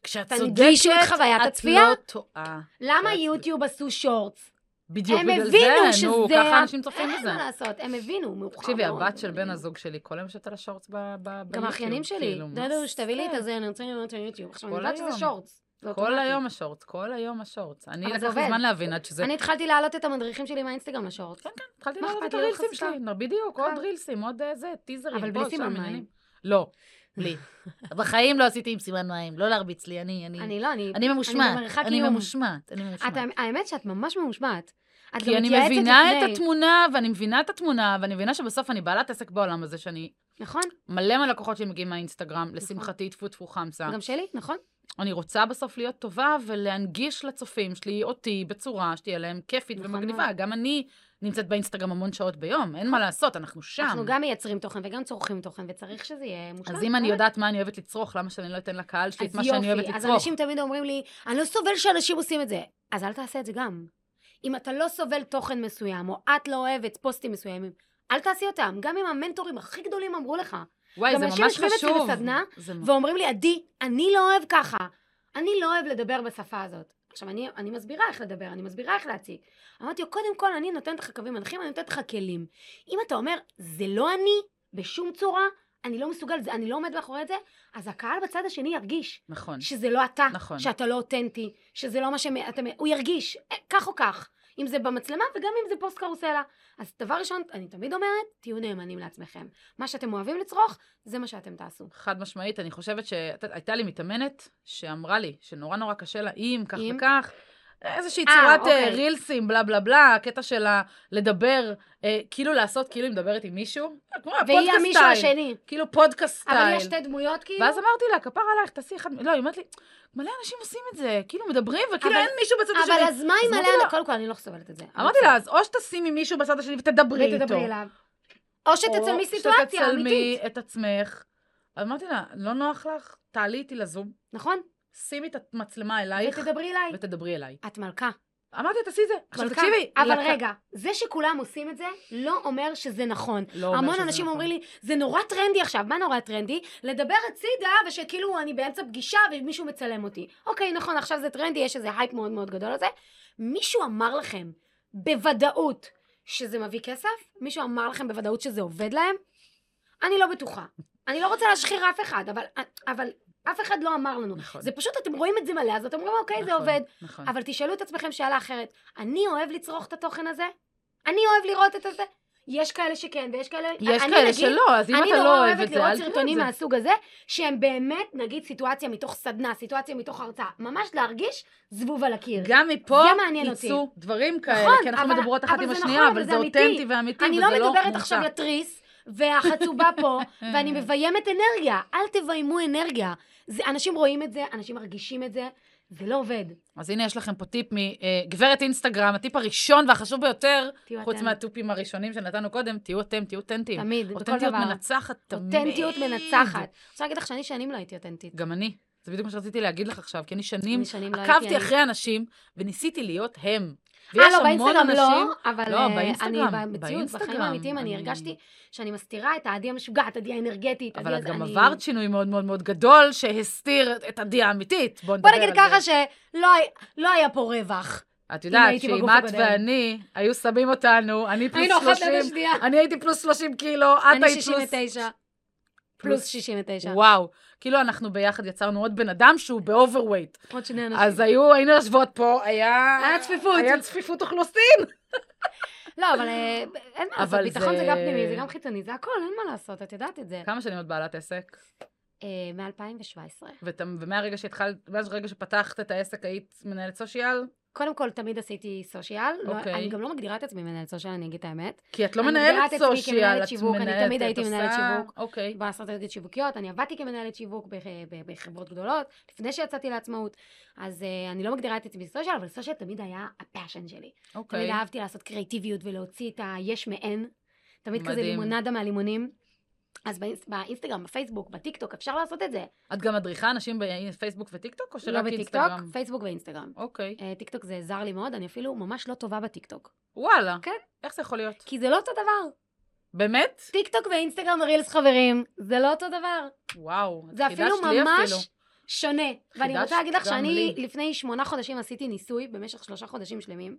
כשאת צודקת,
תנגישו את חוויית
את
הצפייה.
לא טועה.
למה
אז-
יוטיוב עשו שורטס?
בדיוק
הם
בגלל
הבינו
זה,
שזה...
נו, ככה אנשים צופים
אין
בזה.
מה לעשות, הם הבינו, מאוחר מאוד.
תקשיבי, הבת של
הם
בן
הבינו.
הזוג שלי, כל היום יושבת על השורטס ב- ב- ביוטיוב.
גם האחיינים שלי,
כאילו, מה
דודו,
זה?
שתביא לי את הזה, אני רוצה לראות את היוטיוב. עכשיו, אני
כל
יודעת שזה
היום.
שורטס. זה
כל
אוטומטי.
היום השורטס, כל היום השורטס. אני
אבל זה
לקח לי
עובד.
זמן להבין עד שזה...
אני התחלתי להעלות את המדריכים שלי מהאינסטגרם לשורטס.
התחלתי
מה
לראות
אכפת
את
לי, לא
הרילסים
חשפה.
שלי, בדיוק, עוד
כן.
רילסים, עוד אה, זה, טיזרים.
אבל
פה,
בלי
שם,
סימן
עניינים.
מים.
לא, בלי. <laughs> בחיים לא עשיתי עם סימן מים, לא להרביץ לי, אני, אני,
אני לא, אני...
אני ממושמעת,
במרחק
אני
איום.
ממושמעת, אני ממושמעת.
את- האמת שאת ממש ממושמעת. את גם
כי אני
מתייעצת
מבינה את
לפני.
התמונה, ואני מבינה את התמונה, ואני מבינה שבסוף אני בעלת עסק בעולם הזה, שאני
נכון,
מלא מהלקוחות שלי מגיעים מהאינסטגרם, לשמחתי, טפו טפו חמסה.
גם שלי, נכון.
אני רוצה בסוף להיות טובה ולהנגיש לצופים שלי אותי בצורה שתהיה להם כיפית
נכון
ומגניבה.
מאוד.
גם אני נמצאת באינסטגרם המון שעות ביום, אין מה לעשות, נכון. אנחנו שם.
אנחנו גם מייצרים תוכן וגם צורכים תוכן, וצריך שזה יהיה מושלם.
אז אם אני
באמת.
יודעת מה אני אוהבת לצרוך, למה שאני לא אתן לקהל שלי את
אה, אז
מה שאני
יופי,
אוהבת
אז
לצרוך?
אנשים תמיד אומרים לי, אני לא סובל שאנשים עושים את זה. אז אל תעשה את זה גם. אם אתה לא סובל תוכן מסוים, או את לא אוהבת פוסטים מסוימים, אל תעשי אותם. גם אם המנטורים הכי גדולים אמרו לך,
וואי,
גם
זה
אנשים
ממש
יושבים אצלי
חשוב.
בסדנה,
זה ממש-
ואומרים לי, עדי, אני לא אוהב ככה. אני לא אוהב לדבר בשפה הזאת. עכשיו, אני, אני מסבירה איך לדבר, אני מסבירה איך להציג. אמרתי לו, קודם כל, אני נותנת לך קווים מנחים, אני נותנת לך כלים. אם אתה אומר, זה לא אני, בשום צורה, אני לא מסוגל, זה- אני לא עומד מאחורי זה, אז הקהל בצד השני ירגיש
נכון.
שזה לא אתה,
נכון.
שאתה לא אותנטי, שזה לא מה שאתה... הוא ירגיש, אה, כך או כך. אם זה במצלמה וגם אם זה פוסט קרוסלה. אז דבר ראשון, אני תמיד אומרת, תהיו נאמנים לעצמכם. מה שאתם אוהבים לצרוך, זה מה שאתם תעשו.
חד משמעית, אני חושבת שהייתה לי מתאמנת שאמרה לי שנורא נורא קשה לה אם כך
אם?
וכך. איזושהי
אה,
צורת אה,
אוקיי.
רילסים, בלה בלה בלה, הקטע שלה לדבר, אה, כאילו לעשות, כאילו היא מדברת עם מישהו, אה, כמו
והיא
הפודקאסט
המישהו
סטייל,
השני.
כאילו פודקאסט
אבל יש
סטייל.
שתי דמויות כאילו?
ואז אמרתי לה, כפר עלייך, תעשי אחד, מ-" לא, היא אומרת לי, מלא אנשים עושים את זה, כאילו מדברים, וכאילו
אבל-
אין מישהו בצד
אבל
השני.
אז מה
אז
אם
אמרתי
עליה?
לה-
קודם כל, אני לא סובלת את זה. אוקיי.
אמרתי לה, אז או שתשימי מישהו בצד השני ותדברי איתו.
ותדברי אליו. או שתצלמי סיטואציה
שתצלמי
אמיתית.
את עצמך. אמרתי לה, לא נוח לך, תעלי איתי לזום,
נכון?
שימי את המצלמה אלייך
ותדברי אליי.
ותדברי אליי.
את מלכה.
אמרתי, תעשי את זה. עכשיו
מלכה.
תקשיבי.
אבל
לק-
רגע, זה שכולם עושים את זה, לא אומר שזה נכון.
לא אומר
המון
שזה
אנשים
נכון.
אומרים לי, זה נורא טרנדי עכשיו, מה נורא טרנדי? לדבר הצידה ושכאילו אני באמצע פגישה ומישהו מצלם אותי. אוקיי, נכון, עכשיו זה טרנדי, יש איזה הייפ מאוד מאוד גדול על זה. מישהו אמר לכם בוודאות שזה מביא כסף? מישהו אמר לכם בוודאות שזה עובד להם? אני לא בטוחה. אני לא רוצה להשחיר אף אחד, אבל, אבל אף אחד לא אמר לנו.
נכון.
זה פשוט, אתם רואים את זה מלא, אז אתם אומרים, אוקיי, זה
נכון,
עובד.
נכון.
אבל תשאלו את עצמכם שאלה אחרת, אני אוהב לצרוך את התוכן הזה? אני אוהב לראות את הזה? יש כאלה שכן ויש כאלה...
יש
אני,
כאלה
נגיד,
שלא, אז אם
אני
אתה
נורא
לא אוהב
אוהבת
את זה,
לראות
אל תראה
סרטונים
את זה.
מהסוג הזה, שהם באמת, נגיד, סיטואציה מתוך סדנה, סיטואציה מתוך הרצאה, ממש להרגיש זבוב על הקיר.
גם מפה
זה מעניין אותי.
יצאו דברים כאלה,
נכון,
כי אנחנו
אבל-
מדברות אחת
אבל
עם
זה
השנייה,
נכון,
אבל
וזה
זה
אמיתי.
אותנטי ואמיתי,
אני
וזה
לא
לא
מדברת
מוצא.
עכשיו לתריס, והחצובה
<laughs>
פה, ואני מביימת אנרגיה. אל תביימו אנרגיה. זה, אנשים רואים את זה, אנשים מרגישים את זה, זה לא עובד.
אז הנה יש לכם פה טיפ מגברת אינסטגרם, הטיפ הראשון והחשוב ביותר,
תהיו
חוץ
אתם.
מהטיפים הראשונים שנתנו קודם, תהיו אתם, תהיו אותנטיים.
תמיד, בכל דבר.
אותנטיות מנצחת תמיד.
אותנטיות מנצחת. אפשר להגיד לך שאני שנים לא הייתי אותנטית.
גם אני. זה בדיוק מה שרציתי להגיד לך עכשיו, כי אני שנים
אני שנים לא הייתי...
עקבתי
אני.
אחרי אנשים וניסיתי להיות הם.
אה,
ויש
לא,
המון
באינסטגרם
אנשים...
לא, אבל
לא,
אה,
באינסטגרם,
אני במציאות, בחיים
באינסטגרם,
האמיתיים, אני
אני-
הרגשתי שאני מסתירה את העדי המשוגעת, עדי האנרגטית.
אבל
עדי
את
הזה,
גם
אני-
עברת שינוי מאוד מאוד מאוד גדול שהסתיר את הדי האמיתית. בוא
בוא
נדבר
נגיד
על
ככה
זה.
שלא הי- לא היה פה רווח.
את יודעת
הייתי
שאם
בגוף
את
הקודם.
ואני היו שמים אותנו, אני
היינו
פלוס
אחת ליד
30,
השנייה.
אני הייתי פלוס 30 קילו, את
אני
היית פלוס...
69. פלוס 69.
וואו, כאילו אנחנו ביחד יצרנו עוד בן אדם שהוא באוברווייט.
עוד שני אנשים.
אז היו, היינו יושבות פה, היה...
היה צפיפות.
היה צפיפות אוכלוסין.
לא, אבל אה, אין מה לעשות,
אבל
ביטחון
זה-
זה גם פנימי, זה גם חיצוני, זה הכל, אין מה לעשות, את יודעת את זה. אה,
כמה שנים את בעלת עסק?
מ-2017.
ות- ומהרגע שהתחלת, מאז הרגע שפתחת את העסק היית מנהלת סושיאל?
קודם כל, תמיד עשיתי סושיאל. לא-
אוקיי.
אני גם לא מגדירה את עצמי מנהלת סושיאל, אני אגיד את האמת.
כי את לא
אני
מנהלת
מגדירה את עצמי
סושיאל,
כמנהלת
את
שיווק, אני
מנהלת...
תמיד
את
הייתי
עושה-
מנהלת שיווק.
אוקיי.
באסטרטגיות שיווקיות, אני עבדתי כמנהלת שיווק בח- ב- בחברות גדולות, לפני שיצאתי לעצמאות, אז אה, אני לא מגדירה את עצמי סושיאל, אבל סושיאל תמיד היה הפאשן שלי. תמיד
אוקיי.
אהבתי לעשות קריאיטיביות ולהוציא את היש מאין, תמיד כזה
מדהים.
לימונדה מהלימונים. אז באינס- באינסטגרם, בפייסבוק, בטיקטוק, אפשר לעשות את זה.
את גם מדריכה אנשים בפייסבוק וטיקטוק או
לא
שרק
בטיקטוק,
אינסטגרם?
פייסבוק ואינסטגרם.
אוקיי.
אה, טיקטוק זה זר לי מאוד, אני אפילו ממש לא טובה בטיקטוק.
וואלה.
כן.
איך זה יכול להיות?
כי זה לא אותו דבר.
באמת?
טיקטוק ואינסטגרם רילס חברים, זה לא אותו דבר.
וואו. את
זה
חידשת
אפילו
לי
ממש שונה. ואני
חידשת
רוצה להגיד לך
גם
שאני
לי.
לפני שמונה חודשים עשיתי ניסוי במשך שלושה חודשים שלמים,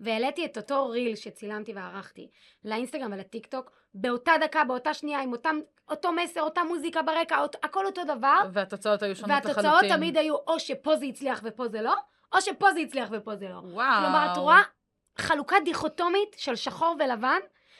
והעליתי את אותו ריל שצילמתי וערכתי לאינסטגרם ולטיק טוק, באותה דקה, באותה שנייה, עם אותם, אותו מסר, אותה מוזיקה ברקע, אות, הכל אותו דבר,
והתוצאות היו שונות לחלוטין.
והתוצאות תמיד היו או שפה זה הצליח ופה זה לא, או שפה זה הצליח ופה זה לא.
וואו.
כלומר, את רואה חלוקה דיכוטומית של שחור ולבן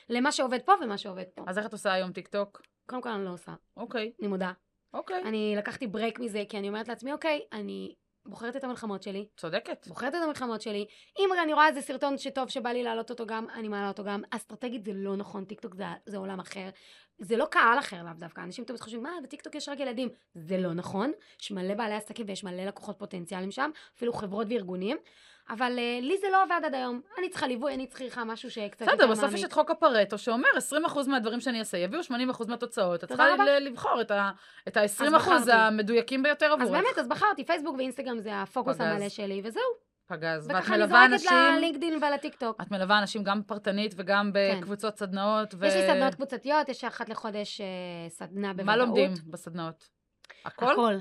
למה שעובד פה ומה שעובד פה.
אז איך את עושה היום טיקטוק?
קודם כל אני לא עושה,
אוקיי,
אני מודה.
אוקיי.
אני לקחתי ברייק מזה, כי אני אומרת לעצמי, אוקיי, אני בוחרת את המלחמות שלי,
צודקת.
בוחרת את המלחמות שלי. אם אני רואה איזה סרטון שטוב שבא לי להעלות אותו גם, אני מעלה אותו גם. אסטרטגית זה לא נכון, טיקטוק זה, זה עולם אחר. זה לא קהל אחר לאו דווקא, אנשים תמיד חושבים, מה, בטיקטוק יש רק ילדים. זה לא נכון, יש מלא בעלי עסקים ויש מלא לקוחות פוטנציאליים שם, אפילו חברות וארגונים. אבל uh, לי זה לא עבד עד היום. אני צריכה ליווי, אני צריכה משהו שקצת יותר
בסדר, בסוף
מעמיק.
יש את חוק הפרטו שאומר 20% מהדברים שאני אעשה יביאו 80% מהתוצאות. את
תודה
צריכה
רבה.
ל- לבחור את ה- את
בחרתי.
ה-20% המדויקים ביותר עבורך.
אז באמת, אז בחרתי, פייסבוק ואינסטגרם זה הפוקוס
פגז.
המלא שלי, וזהו.
פגז. ואת
וככה אני
מלווה
זורקת
אנשים,
ללינקדאין ולטיקטוק.
את מלווה אנשים גם פרטנית וגם בקבוצות סדנאות. ו-
כן. יש לי סדנאות קבוצתיות, יש אחת לחודש אה, סדנה בוודאות.
מה לומדים בסדנאות? הכל?
הכל.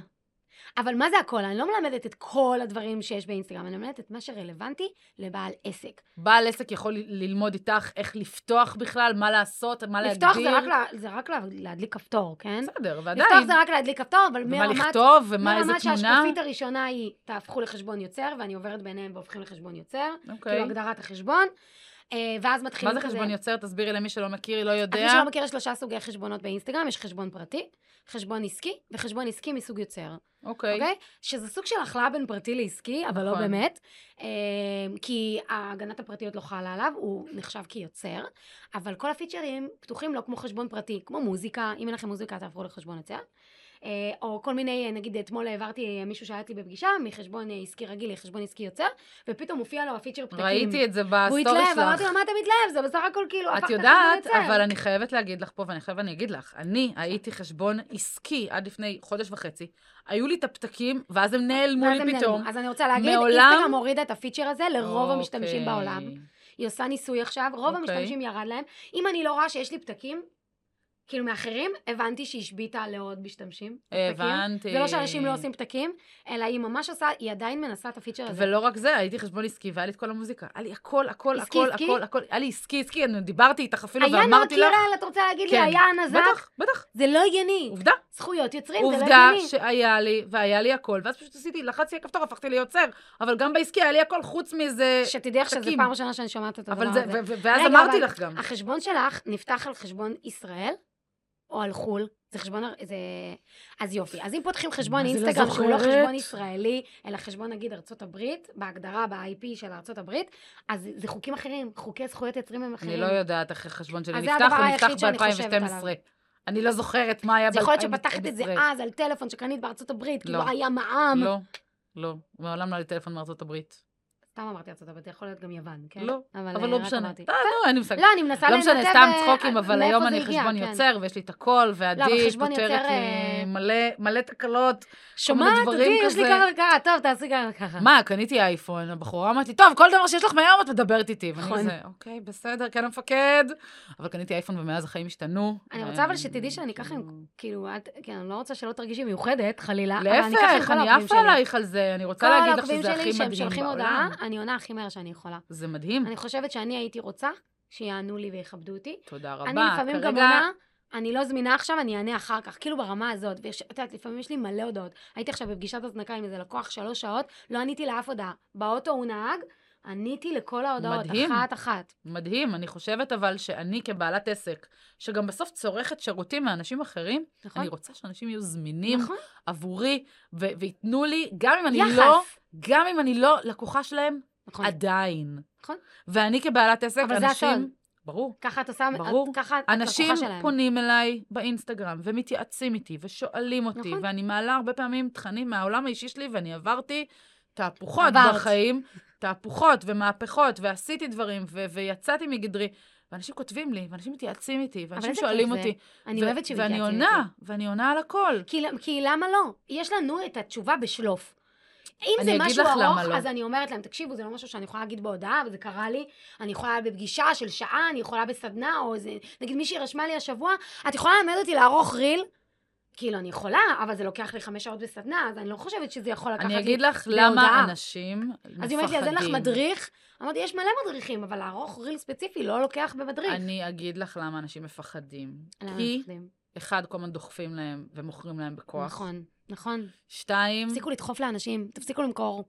אבל מה זה הכל? אני לא מלמדת את כל הדברים שיש באינסטגרם, אני מלמדת את מה שרלוונטי לבעל עסק.
בעל עסק יכול ל- ללמוד איתך איך לפתוח בכלל, מה לעשות, מה להגדיר.
לפתוח זה רק לה- זה רק לה- להדליק כפתור, כן?
בסדר, ועדיין.
לפתוח זה רק להדליק כפתור, אבל
ומה
מרמת...
לכתוב, ומה, איזה
מרמת
תמונה.
שהשקופית הראשונה היא, תהפכו לחשבון יוצר, ואני עוברת ביניהם והופכים לחשבון יוצר,
אוקיי.
כאילו הגדרת החשבון, אה, ואז מתחילים
מה
כזה...
זה חשבון יוצר? תסבירי למי שלא מכיר, לא
אז
יודע.
מי שלא מכיר, יש שלושה סוגי חשבונות באינסטגרם, יש חשבון פרטי, חשבון עסקי, וחשבון עסקי מסוג יוצר.
אוקיי.
אוקיי? שזה סוג של הכלאה בין פרטי לעסקי, אבל לא
נכון.
באמת. אה, כי הגנת הפרטיות לא חלה עליו, הוא נחשב כיוצר, אבל כל הפיצ'רים פתוחים לו כמו חשבון פרטי, כמו מוזיקה, אם אין לכם מוזיקה תעברו לחשבון יוצר. אה, או כל מיני, אה, נגיד אתמול העברתי אה, מישהו שהיה אצלי בפגישה, מחשבון אה, עסקי רגיל לחשבון עסקי יוצר, ופתאום מופיע לו הפיצ'ר פתקים.
ראיתי את זה
והוא
בסטורי
התלהב, אמרתי לו,
שלך.
מה אתה מתלהב? זה בסך הכל כאילו, הפכת
את
לחשבון
יודעת,
יוצר."
אבל אני חייבת להגיד לך פה, ואני חייבת אני אגיד לך, אני הייתי חשבון עסקי עד לפני חודש וחצי, היו לי את הפתקים, ואז הם נעלמו
ואז הם
לי
נעלמו.
פתאום.
אז אני רוצה להגיד,
מעולם-
אינסטגרם הורידה את הפיצ'ר הזה לרוב המשתמשים
אוקיי.
בעולם. היא עושה ניסוי עכשיו, רוב okay.
אוקיי.
המשתמשים ירד להם. אם אני לא רואה שיש לי פתקים, כאילו מאחרים, הבנתי שהיא השביתה לעוד משתמשים. פתקים.
הבנתי.
זה לא שאנשים
אה.
לא עושים פתקים, אלא היא ממש עושה, היא עדיין מנסה את הפיצ'ר הזה.
ולא רק זה, הייתי חשבון עסקי, והיה לי את כל המוזיקה. היה לי הכל, הכל,
עסקי,
הכל,
עסקי?
הכל, הכל. היה לי עסקי, עסקי, אני דיברתי איתך אפילו,
היה נועה
ואמרתי לך...
קירל, את רוצה להגיד לי,
כן.
היה נזק?
בטח, בטח.
זה לא הגיוני.
עובדה.
זכויות יוצרים, זה לא
עובדה
הגיוני.
שהיה לי, והיה לי הכל, ואז פשוט עשיתי, לחצתי על כפתור, הפכתי ליוצר. אבל גם בעסקי היה לי הכל, חוץ מזה...
שתדעי לך שזו
פתקים.
פעם ראשונה שאני שומעת את הדבר
אבל
הזה.
זה, ו- ו- ואז
לא, רגע,
אמרתי
אבל-
לך גם.
החשבון שלך נפתח על חשבון ישראל או על חו"ל? זה חשבון, זה... אז יופי. אז אם פותחים חשבון
מה זה לא
אינסטגרם שהוא לא
זוכרת?
חשבון ישראלי, אלא חשבון נגיד ארצות הברית, בהגדרה, ב-IP של ארצות הברית, אז זה חוקים אחרים, חוקי זכויות יצרים הם אחרים.
אני לא יודעת איך החשבון שלי
אז זה
נפתח,
הדבר
הוא
היחיד
נפתח
שאני חושבת
ב-2012.
עליו.
אני לא זוכרת מה היה ב-2012.
זה יכול להיות שפתחת את זה אז על טלפון שקנית בארצות הברית, כי
לא.
לא היה מע"מ.
לא, לא. מעולם לא היה לי טלפון מארצות הברית.
סתם אמרתי ארצות הברית, זה יכול להיות גם יוון, כן?
לא, אבל
אה,
לא
רק
משנה.
אמרתי.
אה, לא, אין לי מושג.
לא, אני מנסה
לא משנה,
לנתב,
סתם
אה,
צחוקים, אבל
מאיפה
היום
זה
אני
הגיע,
חשבון
כן. לא,
יוצר, ויש לי את הכל, ועדי
חשבון
פותרת
יוצר,
לי
אה,
מלא- מלא תקלות.
שומעת
מיני
אותי,
דברים
יש לי
כזה.
ככה וככה, טוב, תעשי ככה וככה.
מה, קניתי אייפון, הבחורה אמרת לי, טוב, כל דבר שיש לך מהיום את מדברת איתי. ואני
נכון.
כזה, אוקיי, בסדר, כן המפקד. אבל קניתי אייפון ומאז החיים השתנו.
אני רוצה אבל
אה,
שתדעי שאני ככה עם-
כאילו,
כאילו, את, כן, אני לא רוצה שלא תרגישי מיוחדת, חלילה. אבל אני ככה עם
אה, להפך,
כל
אני
העוקבים
עפה
שלי.
עלייך על זה, אני
כל
רוצה להגיד לך
העוקבים
שזה הכי
שלי, שהם
מדהים
שולחים הודעה,
בעולם.
אני עונה הכי מהר שאני יכולה.
<laughs> זה מדהים.
אני חושבת שאני הייתי רוצה שיענו לי ויכבדו אותי.
תודה רבה.
אני לפעמים גם
כרגע-
עונה, אני לא זמינה עכשיו, אני אענה אחר כך. כאילו ברמה הזאת, ואת יודעת, לפעמים יש לי מלא הודעות. הייתי עכשיו בפגישת הזנקה עם איזה לקוח שלוש שעות, לא עניתי לאף הודעה. באוטו הוא נהג, עניתי לכל ההודעות,
מדהים.
אחת-אחת.
מדהים, אני חושבת אבל שאני כבעלת עסק, שגם בסוף צורכת שירותים מאנשים אחרים,
נכון?
אני רוצה שאנשים יהיו זמינים
נכון?
עבורי, ו- וייתנו לי, גם אם אני
יחס.
לא, גם אם אני לא לקוחה שלהם,
נכון.
עדיין.
נכון.
ואני כבעלת עסק,
אבל זה הסוד.
אנשים... ברור.
ככה את עושה, את-
ברור.
ככה את
אנשים
לקוחה שלהם.
פונים אליי באינסטגרם ומתייעצים איתי ושואלים אותי,
נכון.
ואני מעלה הרבה פעמים תכנים מהעולם האישי שלי, ואני עברתי תהפוכות
עברת.
בחיים, תהפוכות ומהפכות, ועשיתי דברים, ו- ויצאתי מגדרי, ואנשים כותבים לי, ואנשים מתייעצים איתי, ואנשים
איזה
שואלים
כיף זה.
אותי.
אני
ו-
אוהבת שמתייעצים.
ואני
איתי.
עונה, ואני עונה על הכל.
כי, למ- כי למה לא? יש לנו את התשובה בשלוף. אם
אני
זה
אגיד
משהו
לך למה
ארוך,
לא.
אז אני אומרת להם, תקשיבו, זה לא משהו שאני יכולה להגיד בהודעה, וזה קרה לי. אני יכולה בפגישה של שעה, אני יכולה בסדנה, או איזה... נגיד מישהי רשמה לי השבוע, את יכולה ללמד אותי לערוך ריל? כאילו, אני יכולה, אבל זה לוקח לי חמש שעות בסדנה, אז אני לא חושבת שזה יכול לקחת לי...
אני אגיד לך
להודעה.
למה אנשים מפחדים.
אז היא אומרת לי, אז אין לך מדריך? אמרתי, יש מלא מדריכים, אבל לערוך ריל ספציפי לא לוקח במדריך.
אני אגיד לך למה אנשים מפחדים.
למה
כי,
מפחדים?
אחד, כל הזמן דוחפים להם ומוכרים להם בכוח.
נכון, נכון.
שתיים,
תפסיקו לדחוף לאנשים, תפסיקו למכור.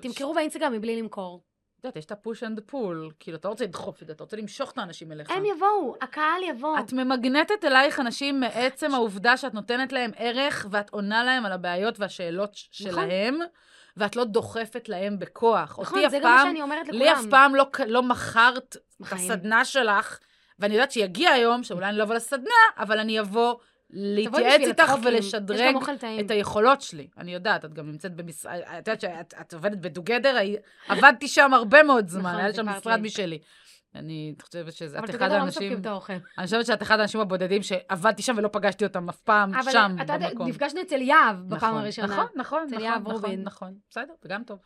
תמכרו באינסטגרם מבלי למכור.
את יודעת, יש את הפוש אנד פול. כאילו, אתה לא רוצה לדחוף את זה, אתה רוצה למשוך את האנשים אליך.
הם יבואו, הקהל יבוא.
נכון. את ממגנטת אלייך אנשים מעצם העובדה שאת נותנת להם ערך ואת עונה להם על הבעיות והשאלות ש-
נכון.
שלהם, ואת לא דוחפת להם בכוח.
נכון,
אותי
זה
אף
גם מה
פעם,
שאני אומרת לכולם.
לי אף פעם לא, ק- לא מכרת את
בחיים.
הסדנה שלך, ואני יודעת שיגיע היום, שאולי אני לא אבוא לסדנה, אבל אני אבוא
תבואי
להתייעץ
בשביל
איתך
הטוקים, יש
ולשדרג
גם אוכל טעים.
את היכולות שלי. אני יודעת, את גם נמצאת במשרד, את יודעת שאת את עובדת בדוגדר, הי- עבדתי שם הרבה מאוד זמן,
נכון,
היה לי שם
סיפרת
משרד
לי.
משלי. אני חושבת שזה,
אבל
את
אתה
אחד
יודע, לא
האנשים...
מספקים את האוכל.
אני חושבת שאת אחד האנשים הבודדים שעבדתי שם ולא פגשתי אותם אף פעם
אבל
שם,
אתה יודע,
במקום.
נפגשנו אצל יהב בפעם
נכון,
הראשונה.
נכון, נכון,
אצל
נכון,
יהב
נכון,
רובין.
נכון, בסדר, זה גם טוב.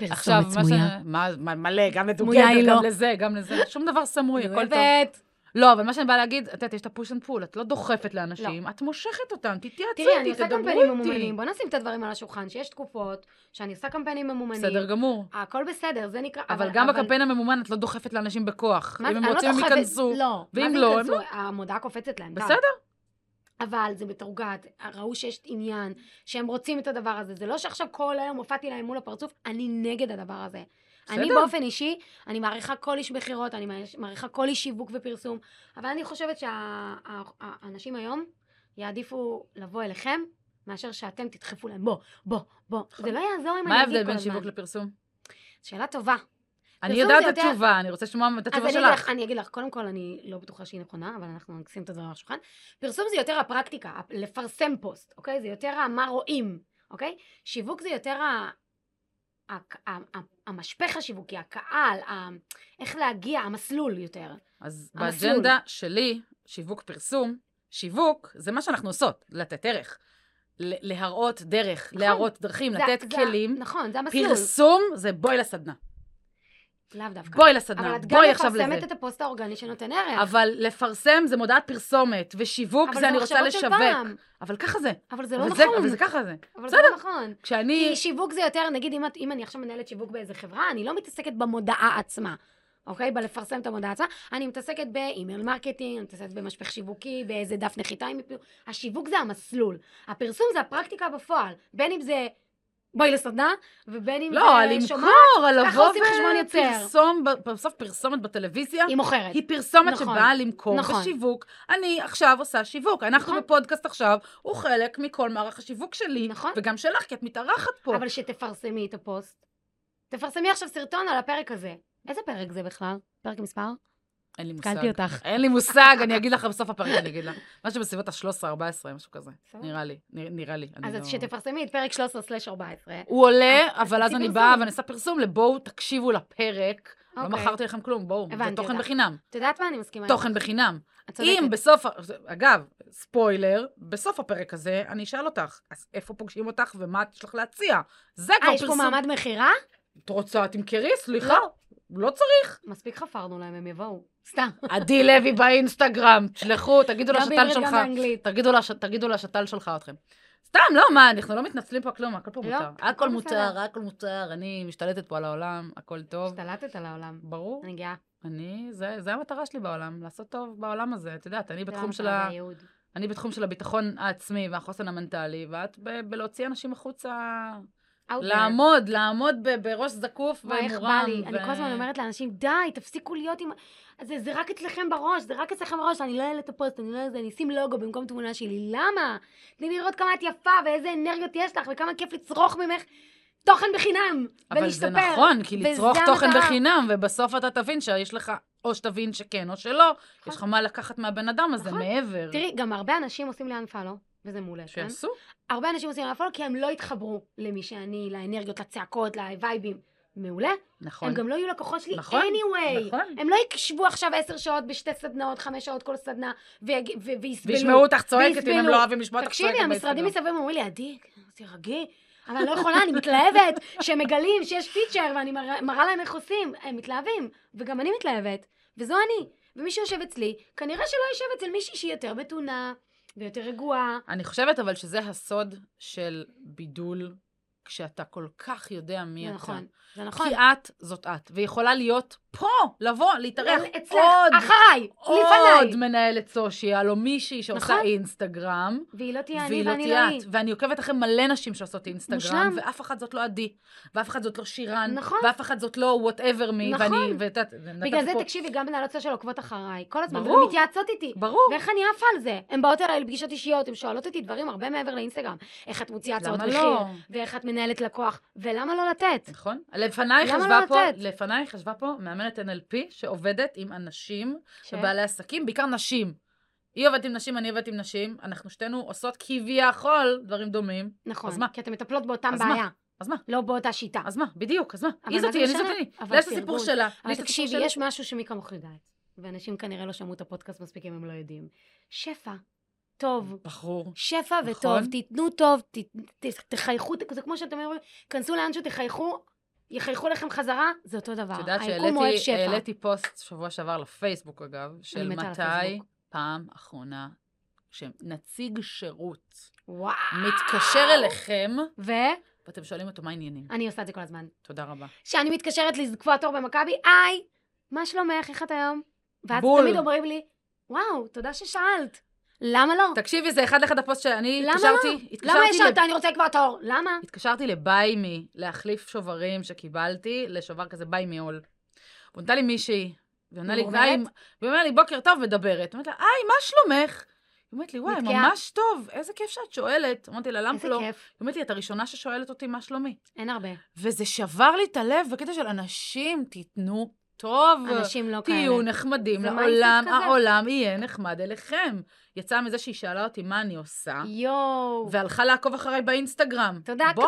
עכשיו,
פרסומת
מה ש...
סמויה.
מה, מה- מלא, גם
סמויה
לדוגגת,
היא
גם
לא.
לזה, גם לזה, שום דבר סמוי, הכל טוב.
אוהבת.
לא, אבל מה שאני באה להגיד, את יודעת, יש את הפוש אנד פול, את לא דוחפת לאנשים, את מושכת אותם, תתייעצו
תראי, אני
איתי,
עושה
תדברו
קמפיינים
איתי.
ממומנים. בוא נשים את הדברים על השולחן, שיש תקופות שאני עושה קמפיינים ממומנים.
בסדר גמור.
הכל בסדר, זה נקרא...
אבל גם בקמפיין הממומן את לא דוחפת לאנשים בכוח.
מה זה-
אם הם
אני לא
רוצים, הם
דוחפת-
ייכנסו.
לא,
ואם
מה זה
לא, הם
ייכנסו? המודעה קופצת להם. די.
בסדר.
אבל זה מתורגת, ראו שיש עניין, שהם רוצים את הדבר הזה. זה לא שעכשיו כל היום הופעתי להם מול הפרצוף, אני נגד הדבר הזה.
בסדר.
אני באופן אישי, אני מעריכה כל איש מכירות, אני מעריך- מעריכה כל איש שיווק ופרסום, אבל אני חושבת שהאנשים היום יעדיפו לבוא אליכם, מאשר שאתם תדחפו להם, בוא, בוא, בוא. זה לא יעזור אם
נכון. מה
אני אגיד כל הזמן.
ההבדל בין שיווק לפרסום?
שאלה טובה.
אני
זה
יודעת את
יותר-
התשובה, אני רוצה לשמוע את התשובה
אז
שלך.
אני אגיד, לך, אני אגיד לך, קודם כל אני לא בטוחה שהיא נכונה, אבל אנחנו נשים את הדברים על השולחן. פרסום זה יותר הפרקטיקה, הפ- לפרסם פוסט, אוקיי? זה יותר מה רואים, אוקיי? שיווק זה יותר ה... ה... ה... ה... המשפך השיווקי, הקהל, ה... איך להגיע, המסלול יותר.
אז
המסלול.
באג'נדה שלי, שיווק פרסום, שיווק זה מה שאנחנו עושות, לתת ערך. ל- להראות דרך,
נכון.
להראות דרכים,
זה-
לתת
זה-
כלים.
נכון, זה המסלול.
פרסום זה בואי לסדנה.
לאו דווקא.
בואי
אבל
לסדנה,
את גם
בואי עכשיו לזה.
מפרסמת את הפוסט האורגני שנותן ערך.
אבל לפרסם זה מודעת פרסומת, ושיווק
אבל
זה אני רוצה
מחשבות של
לשווק.
פעם.
אבל ככה זה.
אבל זה לא
אבל
נכון.
אבל זה ככה זה.
אבל זה
בסדר.
לא נכון.
כשאני...
כי שיווק זה יותר, נגיד אם, את, אם אני עכשיו מנהלת שיווק באיזה חברה, אני לא מתעסקת במודעה עצמה, אוקיי? בלפרסם את המודעה עצמה, אני מתעסקת באימייל מרקטינג, אני מתעסקת במשפך שיווקי, באיזה דף נחיתה עם... השיווק זה המסלול, הפרסום זה הפרקטיקה בפועל, בין אם זה בואי לסדנה, ובין אם
לא, על
זה שומעת,
למכור, על
ככה
לבוא
עושים חשבון יוצר.
ופרסום, ב- בסוף פרסומת בטלוויזיה,
היא מוכרת.
היא פרסומת
נכון,
שבאה למכור
נכון.
בשיווק. אני עכשיו עושה שיווק. אנחנו
נכון.
בפודקאסט עכשיו, הוא חלק מכל מערך השיווק שלי,
נכון.
וגם שלך, כי את מתארחת פה.
אבל שתפרסמי את הפוסט. תפרסמי עכשיו סרטון על הפרק הזה. איזה פרק זה בכלל? פרק מספר?
אין לי מושג.
קלתי אותך.
אין לי מושג, אני אגיד לך בסוף הפרק, אני אגיד לך. <laughs> משהו בסביבות ה-13-14, משהו כזה.
בסדר.
נראה לי, נרא- נראה לי. אני
אז
לא-
את- אה, שתפרסמי את פרק 13/14.
הוא עולה,
אז- אז
אבל אז
תעשי
אני
פרסום.
באה ואני עושה פרסום לבואו תקשיבו לפרק. לא
אוקיי.
מכרתי לכם כלום, בואו. זה
הבנתי
תוכן
אותך.
בחינם.
את יודעת מה? אני מסכימה.
תוכן בחינם.
את צודקת.
אם בסוף, ה- זה- אגב, ספוילר, בסוף הפרק הזה אני אשאל אותך, אז איפה פוגשים אותך ומה את יש לך להציע? זה כבר
אה,
פרסום.
יש פה מעמד מכירה?
את רוצה, תמכרי, סליחה. לא צריך.
מספיק חפרנו להם, הם יבואו. <laughs> סתם.
עדי לוי באינסטגרם, תשלחו, תגידו לה
גם
שטל
לא בעברית, גם
שלך.
באנגלית.
תגידו לה ש- תגידו לה שטל שלחה אתכם. סתם, לא, מה, אנחנו לא מתנצלים פה כלום, הכל פה
לא,
מותר.
הכל
הכל
בסדר.
מותר, הכל מותר, אני משתלטת פה על העולם, הכל טוב.
השתלטת על העולם.
ברור.
אני גאה.
אני, זה זה המטרה שלי בעולם, לעשות טוב בעולם הזה. את יודעת, אני
זה
בתחום
המטרה
של ה...
והייעוד.
אני בתחום של הביטחון העצמי והחוסן המנטלי, ואת ב- בלהוציא אנשים החוצה,
Out there.
לעמוד, לעמוד ב- בראש זקוף
אוקיי. וואי,
ומורם.
איך בא לי. אני
ו-
כל הזמן אומרת לאנשים, די, תפסיקו להיות עם... זה, זה רק אצלכם בראש, זה רק אצלכם בראש, אני לא אעלה את הפוסט, אני לא... זה, אני אשים לוגו במקום תמונה שלי. למה? תני לי לראות כמה את יפה ואיזה אנרגיות יש לך וכמה כיף לצרוך ממך תוכן בחינם
אבל
ולהשתפר.
זה נכון, כי
וזה
לצרוך תוכן
המטרה.
בחינם, ובסוף אתה תבין שיש לך, או שתבין שכן או שלא, יש לך מה לקחת מהבן אדם הזה
נכון.
מעבר.
תראי, גם הרבה אנשים עושים לי unfollow, וזה מעולה, כן?
שיעשו.
הרבה אנשים עושים עליו פולו כי הם לא התחברו למי שאני, לאנרגיות, לצעקות, לווייבים. מעולה.
נכון.
הם גם לא יהיו לקוחות שלי
נכון,
anyway.
נכון.
הם לא יקשבו עכשיו עשר שעות בשתי סדנאות, חמש שעות כל סדנה, ויג- ו- ויסבלו.
וישמעו אותך צועקת, אם הם
ויסבלו.
לא אוהבים לשמוע אותך צועקת.
תקשיבי, המשרדים
באינסטגרם.
מסביב אומרים לי, עדי, תירגעי. אבל אני לא יכולה, אני מתלהבת, שהם מגלים שיש פיצ'ר ואני מרא- מראה להם איך עושים. הם מתלהבים, וגם אני מתלהבת, וזו אני. ומי שיושב אצלי, כנראה שלא יושב אצל מישהי שהיא יותר מתונה, ויותר רגועה.
אני חושבת אבל שזה הסוד של בידול, כשאתה כל כך יודע מי
זה
אתה.
נכון, זה נכון.
כי את זאת את, ויכולה להיות פה, לבוא, להתארח
אבל לא, אצלך,
עוד,
אחריי,
עוד
לפניי.
מנהלת סושיאל, או מישהי שעושה
נכון.
אינסטגרם,
והיא לא תהיה אני
והיא לא
ואני לא
תהיה
היא.
את. ואני עוקבת אחרי מלא נשים שעושות אינסטגרם,
מושלם.
ואף אחת זאת לא עדי, ואף אחת זאת לא שירן,
נכון.
ואף אחת זאת לא וואטאבר מי,
נכון.
ואני, ואת יודעת, נתת
בגלל זה
פה-
תקשיבי, גם מנהלות סושיאל עוקבות אחריי. כל הזמן,
ברור.
והן מתייעצות איתי.
ברור.
ואיך אני עפה על זה? הן באות אליי לפגישות אישיות, הן שואלות אותי דברים הרבה מעבר לאינסטגרם. איך את מוציאה הצעות
למה
מחיר?
לא?
ואיך את מנהלת לקוח? ולמה לא לתת?
נכון. לפנייך
למה לא
ישבה פה,
לתת?
לפנייך ישבה פה מאמנת NLP שעובדת עם אנשים
ש-
ובעלי עסקים, בעיקר נשים. היא עובדת עם נשים, אני עובדת עם נשים, אנחנו שתינו עושות כביכול דברים דומים.
נכון,
אז מה?
כי אתן מטפלות באותם
אז מה?
בעיה,
אז מה?
לא באותה שיטה.
אז מה? בדיוק, אז מה?
אבל
היא
מה
זאת
זה
היא, אני זאת
משנה?
אני.
אבל
לה יש את
זה
הסיפור שלה,
פרגון.
לי
אבל
יש את הסיפור
תקשיבי,
שלה.
יש משהו שמי כמוך יודעת, ואנשים כנראה לא שמעו את הפודקאסט מספיק אם הם לא יודעים. שפע, טוב.
בחור.
שפע
נכון.
וטוב, תיתנו טוב, ת, ת, תחייכו, זה כמו שאתם אומרים, כנסו לאן שתחייכו, יחייכו לכם חזרה, זה אותו דבר.
את יודעת
היקום אוהב
שהעליתי
שפע.
העליתי פוסט שבוע שעבר לפייסבוק, אגב, של
מתה על
מתי
הפייסבוק.
פעם אחרונה שנציג שירות
וואו.
מתקשר אליכם,
ואני
ואתם שואלים אותו מה העניינים.
עושה את זה כל הזמן.
תודה רבה.
כשאני מתקשרת לקבוע תור במכבי, היי, מה שלומך, איך את היום? ואז
בול.
תמיד אומרים לי, וואו, תודה ששאלת. למה לא?
תקשיבי, זה אחד לאחד הפוסט שאני
למה לא?
התקשרתי,
למה
התקשרתי, לב-
ישבת? אני רוצה לקבוע תור. למה?
התקשרתי לביי מי להחליף שוברים שקיבלתי לשובר כזה ביי מי עול. פונתה לי מישהי, והיא עונה לי,
מורמרת?
והיא והיא אומרת לי, בוקר טוב, מדברת. אמרתי לה, היי, מה שלומך? היא אומרת לי, וואי,
נתקעה.
ממש טוב, איזה כיף שאת שואלת. אמרתי לה, למה
איזה
לא? היא
כיף.
אומרת לי, את הראשונה ששואלת אותי מה שלומי.
אין הרבה.
וזה שבר לי את הלב בקטע של אנשים, תיתנו טוב.
אנשים לא כאלה.
תהיו נחמדים
זה
לעולם,
mindset כזה.
העולם יהיה נחמד אליכם. יצא מזה שהיא שאלה אותי מה אני עושה,
יואו.
והלכה לעקוב אחריי באינסטגרם.
תודה,
בוא,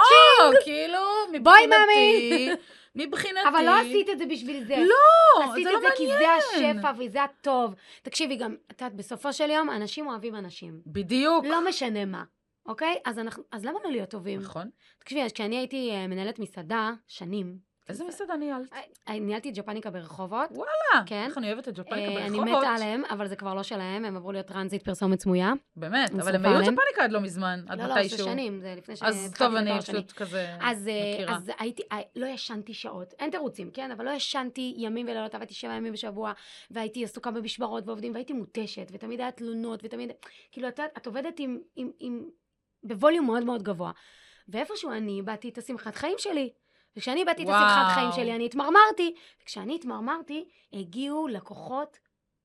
כאילו,
בואי,
מבחינתי, מבחינתי.
אבל לא עשית את זה בשביל זה.
לא,
עשית
זה
את
לא
זה
מעניין.
כי זה השפע וזה הטוב. תקשיבי, גם, את יודעת, בסופו של יום, אנשים אוהבים אנשים.
בדיוק.
לא משנה מה, אוקיי? אז אנחנו, אז למה לא להיות טובים?
נכון.
תקשיבי, אז כשאני הייתי אה, מנהלת מסעדה, שנים,
איזה מסעדה ניהלת?
אה, ניהלתי את ג'פניקה ברחובות.
וואלה.
כן.
איך אני אוהבת את ג'פניקה
אה, אני
ברחובות.
מתה עליהם, אבל זה כבר לא שלהם, הם עברו להיות טרנזיט פרסומת סמויה.
באמת,
אני
אבל הם
שמחה
היו
עליהם.
ג'פניקה עד לא מזמן, עד
לא, לא,
מתישהו.
זה שנים, זה לפני
אז
שהתחלתי
טוב,
בתואר
אני
שני.
פשוט כזה
אז, אה,
כן, מכירה.
אז הייתי, אה, לא ישנתי שעות, אין תירוצים, כן? אבל לא ישנתי ימים ולילות, עבדתי שבע ימים בשבוע, והייתי עסוקה במשמרות ועובדים, והייתי מותשת, ותמיד היה תלונות, ותמיד, כאילו, את יודעת, את עובדת עם, עם, עם, בווליום מאוד מאוד גבוה. ואיפשהו אני איבדתי את השמחת חיים שלי. וכשאני איבדתי את השמחת חיים
וואו.
שלי, אני התמרמרתי. וכשאני התמרמרתי, הגיעו לקוחות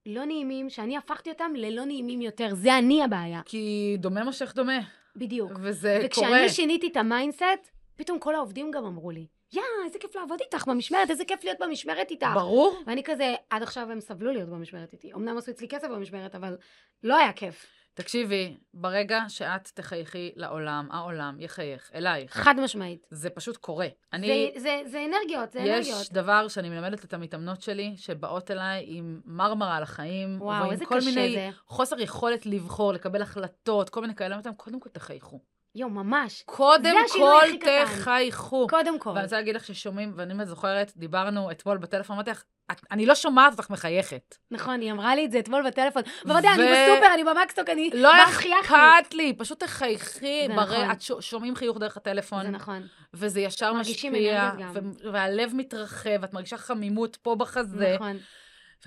לא נעימים, שאני הפכתי אותם ללא נעימים יותר. זה אני הבעיה,
כי דומה מושך דומה,
בדיוק.
וזה אה, קורה.
וכשאני שיניתי את המיינדסט, פתאום כל העובדים גם אמרו לי, יא, איזה כיף לעבוד איתך במשמרת, איזה כיף להיות במשמרת איתך.
ברור.
ואני כזה, עד עכשיו הם סבלו להיות במשמרת איתי. אמנם עשו אצלי כסף במשמרת, אבל לא היה כיף.
תקשיבי, ברגע שאת תחייכי לעולם, העולם יחייך אלייך.
חד משמעית.
זה פשוט קורה. אני...
זה, זה, זה אנרגיות, זה אנרגיות.
יש דבר שאני מלמדת את המתאמנות שלי, שבאות אליי עם מרמרה על החיים,
וואו,
ועם
איזה
כל
קשה
מיני
זה.
חוסר יכולת לבחור, לקבל החלטות, כל מיני כאלה, אמרתי להם, קודם כל תחייכו.
יואו, ממש.
קודם
השינוי
כל
הכי קטן.
תחייכו.
קודם כל.
ואני רוצה להגיד לך ששומעים, ואני באמת זוכרת, דיברנו אתמול בטלפון, אמרתי לך, "את- אני לא שומעת אותך מחייכת.
נכון, היא אמרה לי את זה אתמול בטלפון. ואמרתי, אני
ו-
בסופר, אני במקסטוק, אני...
לא
מה חייכתי?
אכפת לי, פשוט תחייכי,
זה
ברי,
נכון.
את ש- שומעים חיוך דרך הטלפון,
זה נכון,
וזה ישר
מרגישים
משפיע,
אנרגיות גם.
ו- והלב מתרחב, את מרגישה חמימות פה בחזה,
נכון.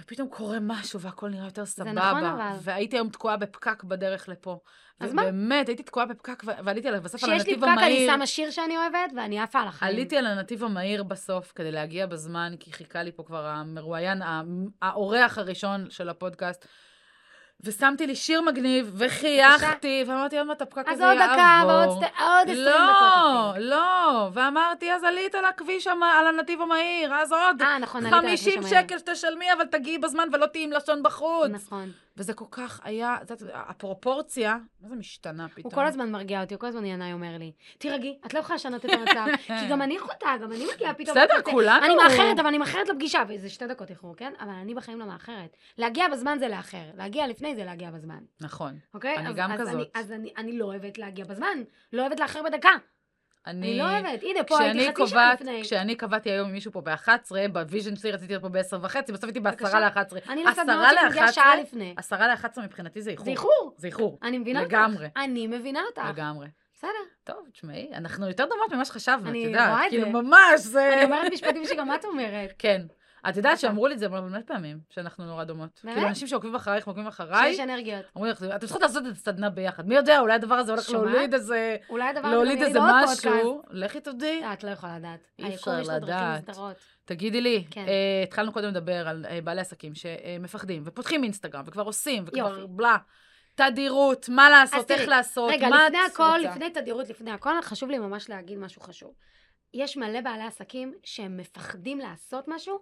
ופתאום קורה משהו והכל נראה יותר סבבה.
נכון, אבל.
והייתי היום תקועה בפקק בדרך לפה.
אז מה?
באמת, הייתי תקועה בפקק, ו- ועליתי עליו בסוף על
כשיש לי
הנתיב
פקק,
המהיר.
אני שמה שיר שאני אוהבת, ואני עפה על החיים.
עליתי על הנתיב המהיר בסוף כדי להגיע בזמן, כי חיכה לי פה כבר המרואיין, ה- האורח הראשון של הפודקאסט. ושמתי לי שיר מגניב, וחייכתי, ואמרתי, עוד מעט הפקק
אז
הזה
עוד
יעבור.
דקה, ועוד שתי- עוד 20 דקות.
לא,
אפילו.
לא, ואמרתי, אז עלית על הכביש, המ- על הנתיב המהיר, אז עוד
אה, נכון, עלית על הכביש
50
המהיר.
שקל שתשלמי, אבל תגיעי בזמן ולא תהיי עם לשון בחוץ.
נכון.
וזה כל כך היה, את יודעת, הפרופורציה, מה זה משתנה פתאום?
הוא כל הזמן מרגיע אותי, הוא כל הזמן ינאי אומר לי, תירגעי, את לא יכולה לשנות את
<laughs>
המצב, כי גם אני חוטאה, גם אני מגיעה פתאום.
בסדר,
למצב.
כולנו.
אני מאחרת, אבל אני מאחרת לפגישה, וזה שתי דקות איחור, כן? אבל אני בחיים לא מאחרת. להגיע בזמן זה לאחר, להגיע לפני זה להגיע בזמן,
נכון.
אוקיי?
אני
אז-
גם
אז
כזאת.
אני- אז אני- אני לא אוהבת להגיע בזמן, לא אוהבת לאחר בדקה. אני לא אוהבת. הנה, פה הייתי
כשאני
חצי שעה
קובעת,
לפני.
כשאני קבעתי היום עם מישהו פה ב-11, בוויז'ן שלי רציתי להיות פה ב-10 וחצי, בסוף הייתי ב-10
בבקשה.
ל-11.
אני נוסעת מאוד שאני מגיעה שעה
ל-11,
לפני.
10 ל-11 מבחינתי זה איחור.
זה איחור.
זה איחור.
אני מבינה אה. אותך.
לגמרי.
אני מבינה אותך.
לגמרי.
בסדר.
טוב, תשמעי, אנחנו יותר דומות ממה שחשבנו, את
אני
יודעת.
רואה את
כאילו,
זה.
ממש, זה...
אני אומרת משפטים שגם
<laughs>
את אומרת.
כן. את יודעת
נכון.
שאמרו לי את זה אבל מלא פעמים, שאנחנו נורא דומות.
באמת?
כאילו, אנשים שעוקבים אחרייך, עוקבים אחריי,
שיש אנרגיות.
אמרו לי, אתם צריכות לעשות את הסדנה ביחד. מי יודע, אולי הדבר הזה הולך
שומעת?
להוליד איזה...
אולי הדבר הזה
להוליד
גם יהיה
איזה
לי בעוד פודקאסט.
משהו. לכי תודי.
אה, את לא יכולה לדעת.
אי אפשר
היקום יש לו דרכים
לדעת.
נסתרות.
תגידי לי,
כן.
אה, התחלנו קודם לדבר על אה, בעלי עסקים שמפחדים, ופותחים אינסטגרם, וכבר עושים, וכבר
יופי.
בלה. תדירות, מה לעשות,
תראי,
איך לעשות,
רגע,
מה
לפני
את
הכל,
רוצה.
לפני תדירות, לפני הכל, חשוב לי ממש להגיד משהו חשוב. יש מלא בעלי עסקים שהם מפחדים לעשות משהו,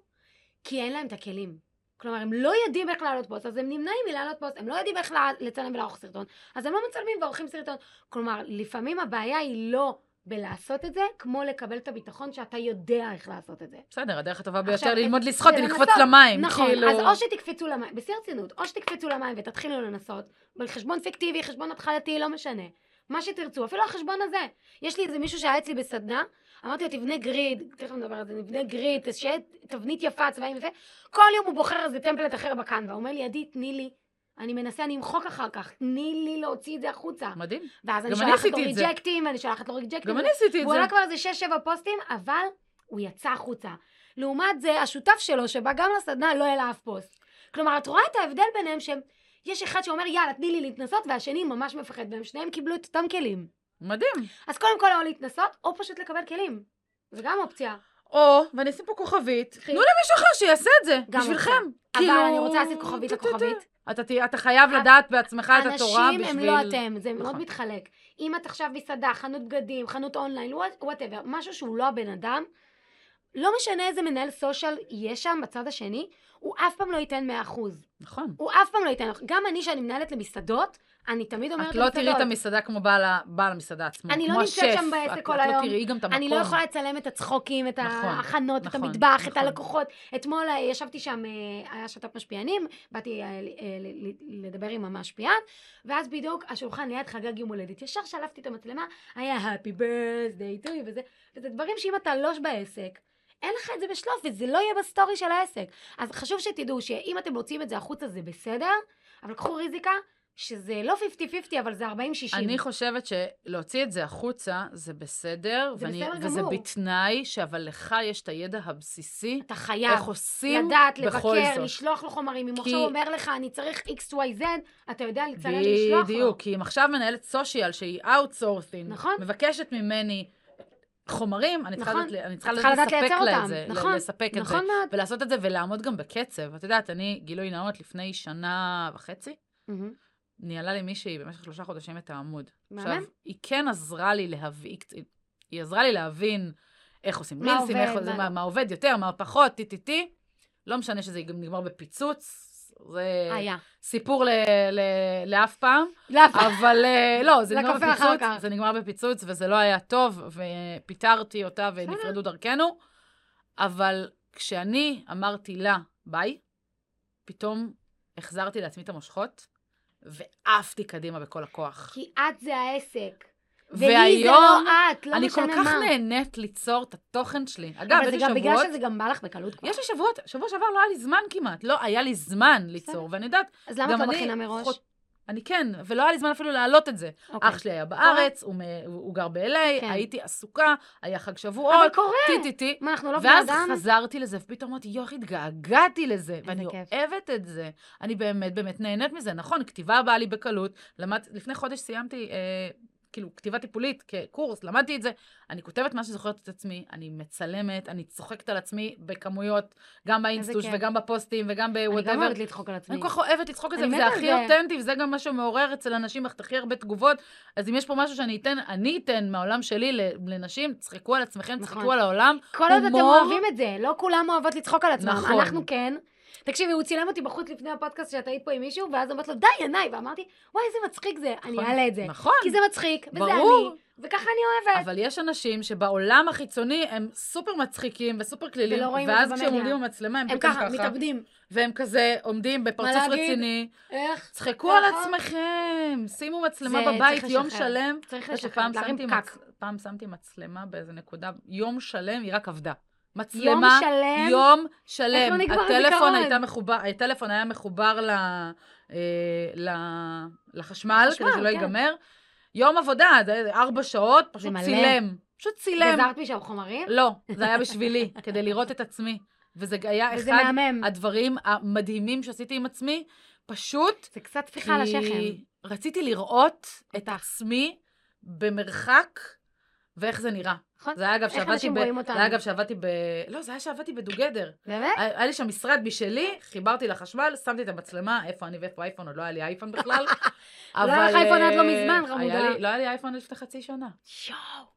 כי אין להם את הכלים. כלומר, הם לא יודעים איך להעלות פוסט, אז הם נמנעים מלהעלות פוסט, הם לא יודעים איך לה- לצלם ולערוך סרטון, אז הם לא מצלמים ועורכים סרטון. כלומר, לפעמים הבעיה היא לא בלעשות את זה, כמו לקבל את הביטחון שאתה יודע איך לעשות את זה.
בסדר, הדרך הטובה ביותר
עכשיו,
ללמוד
את-
לשחות היא
ולנסות.
לקפוץ למים.
נכון,
כאילו...
אז או שתקפצו למים, בשיא הרצינות, או שתקפצו למים ותתחילו לנסות, בחשבון פיקטיבי, חשבון התחלתי, לא משנה. מה שתרצו, אפילו החשבון הזה. יש לי איזה מישהו שהיה אצלי בסדנה, אמרתי לו, תבנה גריד, תכף נדבר על זה, נבנה גריד, תש- שיהיה תבנית יפה, צבעים יפה, כל יום הוא בוחר איזה טמפלט אחר בקנווה, הוא אומר לי, עדי, תני לי, אני מנסה, אני אמחוק אחר כך, תני לי להוציא את זה החוצה.
מדהים.
ואז אני
גם אני
שולחת לו
עשיתי את זה.
ריג'קטים, אני שולחת לו ריג'קטים.
גם אני עשיתי את
הוא עלה
זה.
כבר איזה 6-7 פוסטים, אבל הוא יצא החוצה. לעומת זה, השותף שלו, שבא גם לסדנה, לא העלה אף פוסט. כלומר, את רואה את ההבדל ביניהם שיש אחד שאומר, יאללה, תני לי להתנסות, והשני ממש מפחד, והם שניהם קיבלו את אותם כלים.
מדהים.
אז קודם כל, או להתנסות, או פשוט לקבל כלים. זה גם אופציה.
או, ואני אשים פה כוכבית,
קחי.
תנו למישהו אחר שיעשה את זה,
גם
בשבילכם.
אופציה.
כאילו,
אבל אני רוצה לשים כוכבית
טה-טה-טה.
לכוכבית.
אתה תה- אתה חייב
אנ-
לדעת בעצמך את התורה בשביל...
אנשים הם לא אתם, זה מאוד
נכון.
מתחלק. אם את עכשיו מסעדה, חנות בגדים, חנות אונליין, וואטאבר, משהו שהוא לא הבן אדם, לא משנה איזה מנהל סושיאל יהיה שם בצד השני, הוא אף פעם לא ייתן 100%.
נכון.
הוא אף פעם לא ייתן. גם אני, שאני מנהלת למסעדות, אני תמיד אומרת
את לא תראי
למסעדות,
את המסעדה כמו בעל ה- בעל המסעדה עצמו.
אני לא
כמו
נמצאת
השף.
שם בעסק
את-
כל
את לא
היום.
תראי גם את המקום.
אני לא יכולה לצלם את הצחוקים, את
נכון,
ההכנות, את
נכון,
המטבח, את
נכון.
הלקוחות. אתמול אה, ישבתי שם, אה, היה שת"פ משפיענים, באתי אה, ל- אה, ל- ל- לדבר עם המשפיען, ואז בדיוק השולחן ליד חגג יום הולדת. ישר שלפתי את המצלמה, היה happy birthday to you וזה, וזה דברים שאם אתה לא בעסק, אין לך את זה בשלוף, וזה לא יהיה בסטורי של העסק. אז חשוב שתדעו שאם אתם מוציאים את זה החוצה זה בסדר, אבל קחו ריזיקה, שזה לא 50-50, אבל זה 40-60.
אני חושבת שלהוציא את זה החוצה זה בסדר,
זה
ואני-
בסדר
וזה
גמור.
בתנאי שאבל לך יש את הידע הבסיסי,
אתה חייב.
איך עושים
לדעת,
בכל
לבקר,
זאת.
לשלוח לו חומרים. אם הוא
כי-
עכשיו אומר לך, אני צריך XYZ, אתה יודע לצלם ולשלוח לו.
בדיוק, כי אם עכשיו מנהלת סושיאל שהיא אאוטסורסינג,
נכון.
מבקשת ממני חומרים, אני צריכה
נכון.
לדעת- אני צריכה
את צריכה
לדעת
לדעת
לספק
לייצר
לה את
אותם.
זה, ל-
נכון.
לספק את זה,
נכון מאוד.
ולעשות את זה ולעמוד גם בקצב. את יודעת, אני, גילוי נאות, לפני שנה וחצי,
מהמם.
ניהלה לי מישהי במשך שלושה חודשים את העמוד.
מהמם.
היא כן עזרה לי להבין, היא עזרה לי להבין איך עושים
מה
רילסים,
עובד,
איך עושים-
מה
מה
לא.
מה עובד יותר, מה פחות, טי טי טי. לא משנה שזה גם נגמר בפיצוץ, זה
היה.
סיפור ל- ל- לאף פעם.
לא,
אבל אה, אה, לא, זה נגמר
לקפה אחר
בפיצוץ,
כך.
זה נגמר בפיצוץ, וזה לא היה טוב, ופיטרתי אותה ונפרדו דרכנו. אבל כשאני אמרתי לה ביי, פתאום החזרתי לעצמי את המושכות, ועפתי קדימה בכל הכוח.
כי את זה העסק. והיא זה לא
והיום
את, לא
אני כל
משנה
כך
מה.
נהנית ליצור את התוכן שלי. אגב,
אבל
יש
זה
לי
גם בגלל
שבועות,
שזה גם בא לך בקלות כבר.
יש לי שבועות, שבוע שעבר לא היה לי זמן כמעט, לא היה לי זמן ליצור, ואני יודעת,
אז למה
גם
את לא
אני...
מכינה מראש?
חוט- אני כן, ולא היה לי זמן אפילו להעלות את זה.
אוקיי.
אח שלי היה בארץ, הוא, מ... הוא הוא גר ב-LA,
כן.
הייתי עסוקה, היה חג שבועות,
אבל קורה.
טי טי טי.
מה, אנחנו לא בני
ואז
אדם?
חזרתי לזה, ופתאום אמרתי, יוח, התגעגעתי לזה, ואני
כיף.
אוהבת את זה. אני באמת באמת נהנית מזה. נכון, כתיבה באה לי בקלות. למד... לפני חודש סיימתי, אה, כאילו, כתיבה טיפולית כקורס, למדתי את זה. אני כותבת מה שזוכרת את עצמי, אני מצלמת, אני צוחקת על עצמי בכמויות, גם באינסטוש
כיף.
וגם בפוסטים וגם
אני גם
בוואטאבר.
אוהבת לדחוק על עצמי.
אני כל כך אוהבת לצחוק על זה,
אני
וזה
מתה על
הכי
זה.
אותנטי, וזה גם מה שמעורר אצל אנשים הכ- הכי הרבה תגובות. אז אם יש פה משהו שאני אתן, אני אתן מהעולם שלי ל- לנשים, צחקו על עצמכם,
נכון.
צחקו על העולם.
כל עוד אתם
הומור-
אוהבים את זה, לא כולם אוהבות לצחוק על עצמם.
נכון.
אנחנו כן. תקשיבי, הוא צילם אותי בחוץ לפני הפודקאסט שאת היית פה עם מישהו, ואז אמרתי לו, די, עיניי, ואמרתי, וואי, איזה מצחיק זה, אני
נכון.
אעלה את זה.
נכון,
כי זה מצחיק, וזה
ברור.
אני, וככה אני אוהבת.
אבל יש אנשים שבעולם החיצוני הם סופר מצחיקים וסופר כלילים,
ולא רואים את זה
ואז כשהם
במדיה.
עומדים במצלמה הם
הם
פתאום
ככה,
ככה,
מתאבדים.
והם כזה עומדים בפרצוף
מה להגיד?
רציני.
איך?
צחקו על
ככה.
עצמכם, שימו מצלמה
זה-
בבית
צריך
יום
לשחרר.
שלם.
צריך
אתה יודע
לשחרר,
שפעם
להרים
שמתי
פקק.
מצ- פעם שמתי מצלמה באיזה נקודה, יום שלם היא רק עבדה. מצלמה,
יום שלם.
יום שלם.
איך לא נגמר
הטלפון
הזיכרון?
הייתה מחובר, הטלפון היה מחובר ל, אה, ל, לחשמל,
לחשמל,
כדי שלא
כן.
ייגמר. יום עבודה, זה ארבע שעות, פשוט
מלא.
צילם. פשוט צילם.
גזרת משם חומרים?
לא, זה היה בשבילי, כדי לראות את עצמי. וזה היה
וזה
אחד
מהמם.
הדברים המדהימים שעשיתי עם עצמי, פשוט
זה קצת טפיחה על השכם.
כי רציתי לראות את
אותך.
עצמי במרחק ואיך זה נראה.
נכון?
זה היה אגב
איך
שעבדתי
אנשים
ב...
רואים
זה
אותנו?
היה אגב שעבדתי ב... לא, זה היה שעבדתי בדוגדר.
באמת?
היה היה לי שם משרד משלי, חיברתי לחשמל, שמתי את המצלמה, איפה אני ואיפה האייפון, עוד לא היה לי אייפון בכלל.
<laughs> לא
<laughs>
היה לך אייפון עד לא מזמן,
אה, היה
חמודה.
לי- לא היה לי אייפון עד לפני חצי שנה.
יואו,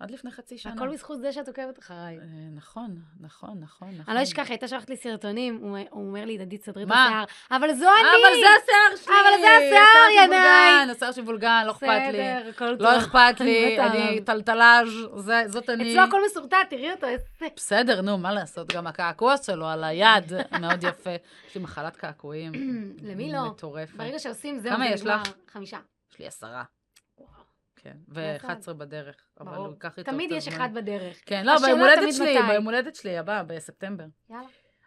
עד לפני חצי שנה.
הכל בזכות זה שאת עוקבת אחריי.
אה, נכון, נכון, נכון, נכון.
אני לא אשכח, הייתה שולחת לי סרטונים, הוא הוא אומר לי, דדית סדרי את
מה? אה,
השיער. אבל זו
אבל
אני!
זה השיער שלי!
אבל זה השיער, ינאי!
ינאי! השיער שמבולגן, לא אכפת לי.
בסדר, הכל טוב.
לא אכפת לי,
בטעם.
אני טלטלאז', זה- זאת אני.
אצלו הכל מסורטט, תראי אותו, איזה...
בסדר, נו, מה לעשות, גם הקעקוע שלו על
<laughs>
היד, מאוד יפה. יש לי מחלת קעקועים.
<clears throat> למי לא?
מטורפת.
ברגע שעושים, זהו,
כמה
זה
יש
נגמר.
לך?
חמישה.
יש לי עשרה. כן,
יפה.
ו-11 בדרך, אבל
ברור.
הוא ייקח איתו
תמיד
קצת
יש
זמן.
אחד בדרך.
כן, לא,
השאלה
ביום הולדת
תמיד
שלי,
מתי.
ביום הולדת שלי הבא, בספטמבר.
יאללה.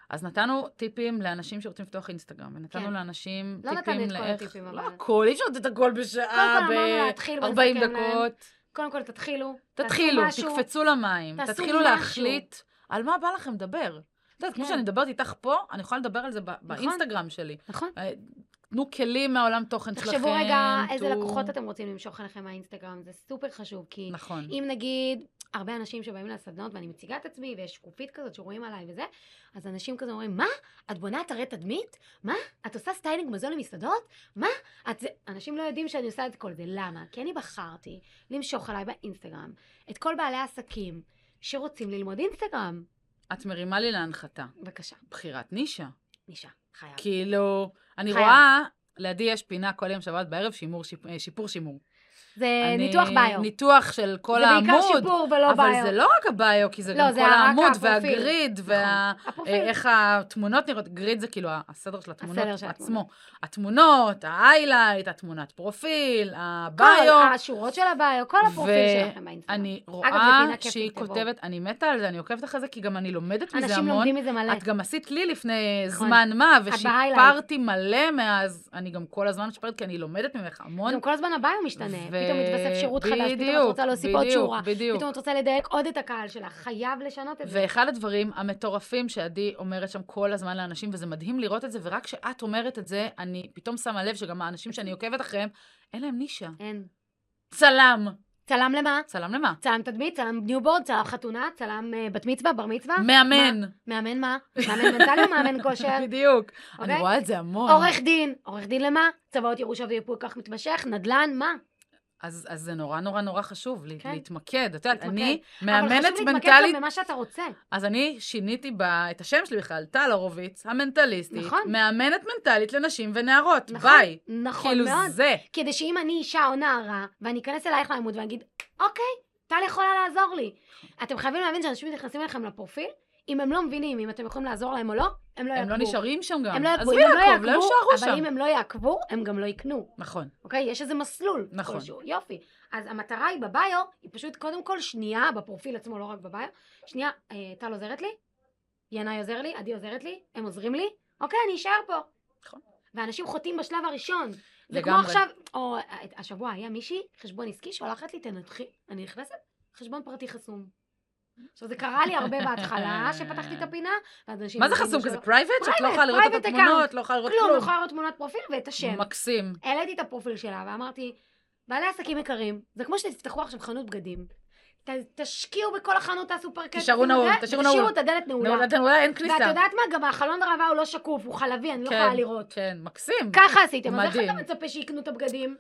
אז נתנו טיפים לאנשים שרוצים לפתוח אינסטגרם, ונתנו
כן.
לאנשים
לא נתנו
טיפים
את כל
לאיך...
הטיפים,
לא
אבל-
הכל, אי אפשר לתת הכל בשעה,
כל אמרנו להתחיל
ב-40
ולסכם להם.
אה, דקות.
קודם כל, תתחילו. תעשו
תתחילו,
אה, משהו.
תקפצו למים,
תעשו
תתחילו
משהו.
להחליט על מה בא לכם לדבר. את יודעת, כמו
כן.
שאני מדברת איתך פה, אני יכולה לדבר על זה ב- באינסטגרם שלי.
נכון.
אה, תנו כלים מהעולם תוכן שלכם.
תחשבו רגע איזה
תהיו-
לקוחות אתם רוצים למשוך אליכם מהאינסטגרם, זה סופר חשוב, כי
נכון.
אם נגיד, הרבה אנשים שבאים לסדנות ואני מציגה את עצמי, ויש שקופית כזאת שרואים עליי וזה, אז אנשים כזה אומרים, מה? את בונה אתרי תדמית? מה? את עושה סטיילינג מזון למסעדות? מה? את זה... אנשים לא יודעים שאני עושה את כל זה. למה? כי אני בחרתי למשוך עליי באינסטגרם את כל בעלי העסקים שרוצים ללמוד אינסטגרם.
את מרימה לי להנחתה,
בבקשה,
בחירת נישה.
נישה, חייב.
כאילו, אני
אה, חייב.
רואה, לידי יש פינה כל יום שבת בערב, שימור שיפ- אה, שיפור שימור.
זה
אני-
אה, ניתוח ביו.
ניתוח של כל
זה בעיקר
העמוד.
שיפור ולא ביו.
אבל זה לא רק הביו, כי זה
לא,
גם
זה
כל
רק
העמוד
הפרופיל.
והגריד,
נכון.
וה...
הפרופיל.
אה, איך התמונות נראות, גריד זה כאילו הסדר של התמונות
הסדר של
עצמו.
התמונות.
התמונות, ההיילייט, התמונת פרופיל,
כל
הביו.
השורות של הביו, כל הפרופיל
ו-
שלכם באינסטגרם.
אני
אגב, זה
רואה
פינה כיפית,
שהיא
תבואו.
כותבת, אני מתה על זה, אני עוקבת אחרי זה, כי גם אני לומדת מזה
אנשים
המון.
לומדים מזה מלא.
את גם עשית לי לפני
נכון.
זמן מה,
בהיילייט.
ושיפרתי מלא מאז, אני גם כל הזמן משפרת, כי אני לומדת ממך המון.
גם כל הזמן הביו לא משתנה.
נכון? ו-
פתאום מתווסף שירות חדש, פתאום את
בדיוק,
רוצה להוסיף עוד
בדיוק,
שורה.
בדיוק.
פתאום את רוצה לדייק עוד את הקהל שלך. חייב לשנות את זה.
ואחד הדברים המטורפים שעדי אומרת שם כל הזמן לאנשים, וזה מדהים לראות את זה, ורק כשאת אומרת את זה, אני פתאום שמה לב שגם האנשים שאני עוקבת אחריהם, אין להם נישה.
אין.
צלם.
צלם למה?
צלם למה?
צלם תדמית, צלם ניובורד, צלם חתונה, צלם אה, בת מצווה, בר מצווה?
מאמן.
מאמן מה? מאמן מנטלי או מאמן כושר?
<laughs> בדיוק. אני
אוקיי?
רואה את זה המון.
עורך דין. עורך דין למה? צוואות ירושה ויפוי כך מתמשך, נדל"ן, מה?
אז אז זה נורא נורא נורא חשוב לי-
כן.
להתמקד. את יודעת,
להתמקד.
אני
אבל
מאמנת
חשוב להתמקד
מנטלית,
גם במה שאתה רוצה.
אז אני שיניתי ב- את השם שלי בכלל, טל הורוביץ, המנטליסטית.
נכון.
מאמנת מנטלית לנשים ונערות.
נכון.
ביי.
נכון
כאילו
מאוד.
זה.
כדי שאם אני אישה או נערה, ואני אכנס אלייך לעמוד ואני אגיד, אוקיי, טל יכולה לעזור לי. אתם חייבים להבין שאנשים נכנסים אליכם לפרופיל, אם הם לא מבינים אם אתם יכולים לעזור להם או לא, הם לא יעקבו.
הם לא נשארים שם גם.
הם לא יעקבו,
עזבי
אם
לעקוב,
הם לא יעקבו,
לא יישארו
אבל
שם.
אם הם לא יעקבו, הם גם לא יקנו,
נכון.
אוקיי? יש איזה מסלול
נכון.
כלשהו, יופי. אז המטרה היא בביו, היא פשוט קודם כל שנייה, בפרופיל עצמו, לא רק בביו, שנייה, אה, טל עוזרת לי, ינאי עוזר לי, עדי עוזרת לי, הם עוזרים לי, אוקיי, אני אשאר פה.
נכון.
ואנשים חוטאים בשלב הראשון. זה כמו
לגמרי.
עכשיו, או אה, השבוע היה מישהי, חשבון עסקי, שולחת לי, תנתחי, אני נכנסת, חשבון פרטי חסום. עכשיו, זה קרה לי הרבה בהתחלה, שפתחתי את הפינה, ואז אנשים...
מה זה
הגיבו
חסום כזה?
שלא-
פרייבט? שאת לא יכולה לראות את
private
התמונות, לא יכולה לראות
כלום,
כלום.
אני יכולה לראות תמונת פרופיל ואת השם.
מקסים.
העליתי את הפרופיל שלה ואמרתי, בעלי עסקים יקרים, זה כמו שתפתחו עכשיו חנות בגדים. ת- תשקיעו בכל החנות, תעשו פרקט.
תישארו נעול, תשאירו נעול.
תשאירו את הדלת נעולה.
נו, אתן לא, אולי אין כניסה.
ואת יודעת מה? גם החלון הרבה הוא לא שקוף, הוא חלבי, אני לא
כן,
יכולה לראות.
כן, מקסים.
ככה עשיתם, אז איך
מדהים.
אתה מצפה שיקנו את הבגדים?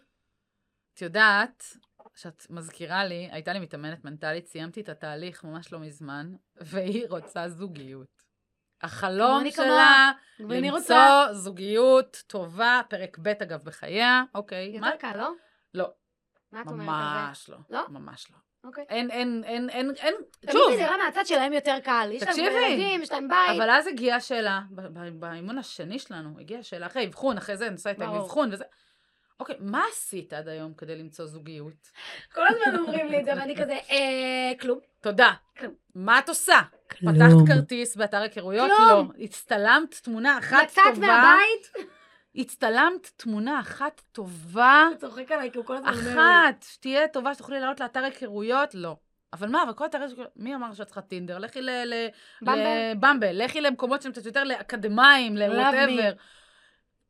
את יודעת, שאת מזכירה לי, הייתה לי מתאמנת מנטלית, סיימתי את התהליך ממש לא מזמן, והיא רוצה זוגיות. החלום
כמוני
שלה,
ואני רוצה...
למצוא זוגיות טובה, פרק ב' אגב בחייה, אוקיי, מה?
יותר קל, לא?
לא.
מה את אומרת על
ממש לא.
לא?
ממש לא.
זה? אוקיי.
אין, אין, אין, אין, אין,
תמיד
שוב,
זה נראה מהצד שלהם יותר קל. יש להם
תקשיבי.
ילדים, יש להם בית.
אבל אז הגיעה השאלה, ב- ב- באימון השני שלנו, הגיעה השאלה, אחרי אבחון, אחרי זה נוסע איתה עם
ברור.
אבחון וזה. אוקיי, מה עשית עד היום כדי למצוא זוגיות?
כל הזמן אומרים לי את זה, ואני כזה, אה, כלום.
תודה.
כלום.
מה את עושה?
כלום.
פתחת כרטיס באתר היכרויות? לא.
כלום.
הצטלמת תמונה אחת
מצאת
טובה?
מהבית?
הצטלמת תמונה אחת טובה,
הוא צוחק עליי, כי הוא כל הזמן אומר לי.
אחת, שתהיה טובה, שתוכלי לעלות לאתר היכרויות? לא. אבל מה, אבל כל אתר היכרויות, מי אמר שאת צריכה טינדר? לכי ל... ל-
במבל?
לבמבל, לכי למקומות שהם קצת יותר לאקדמאים, ל-whatever.
me.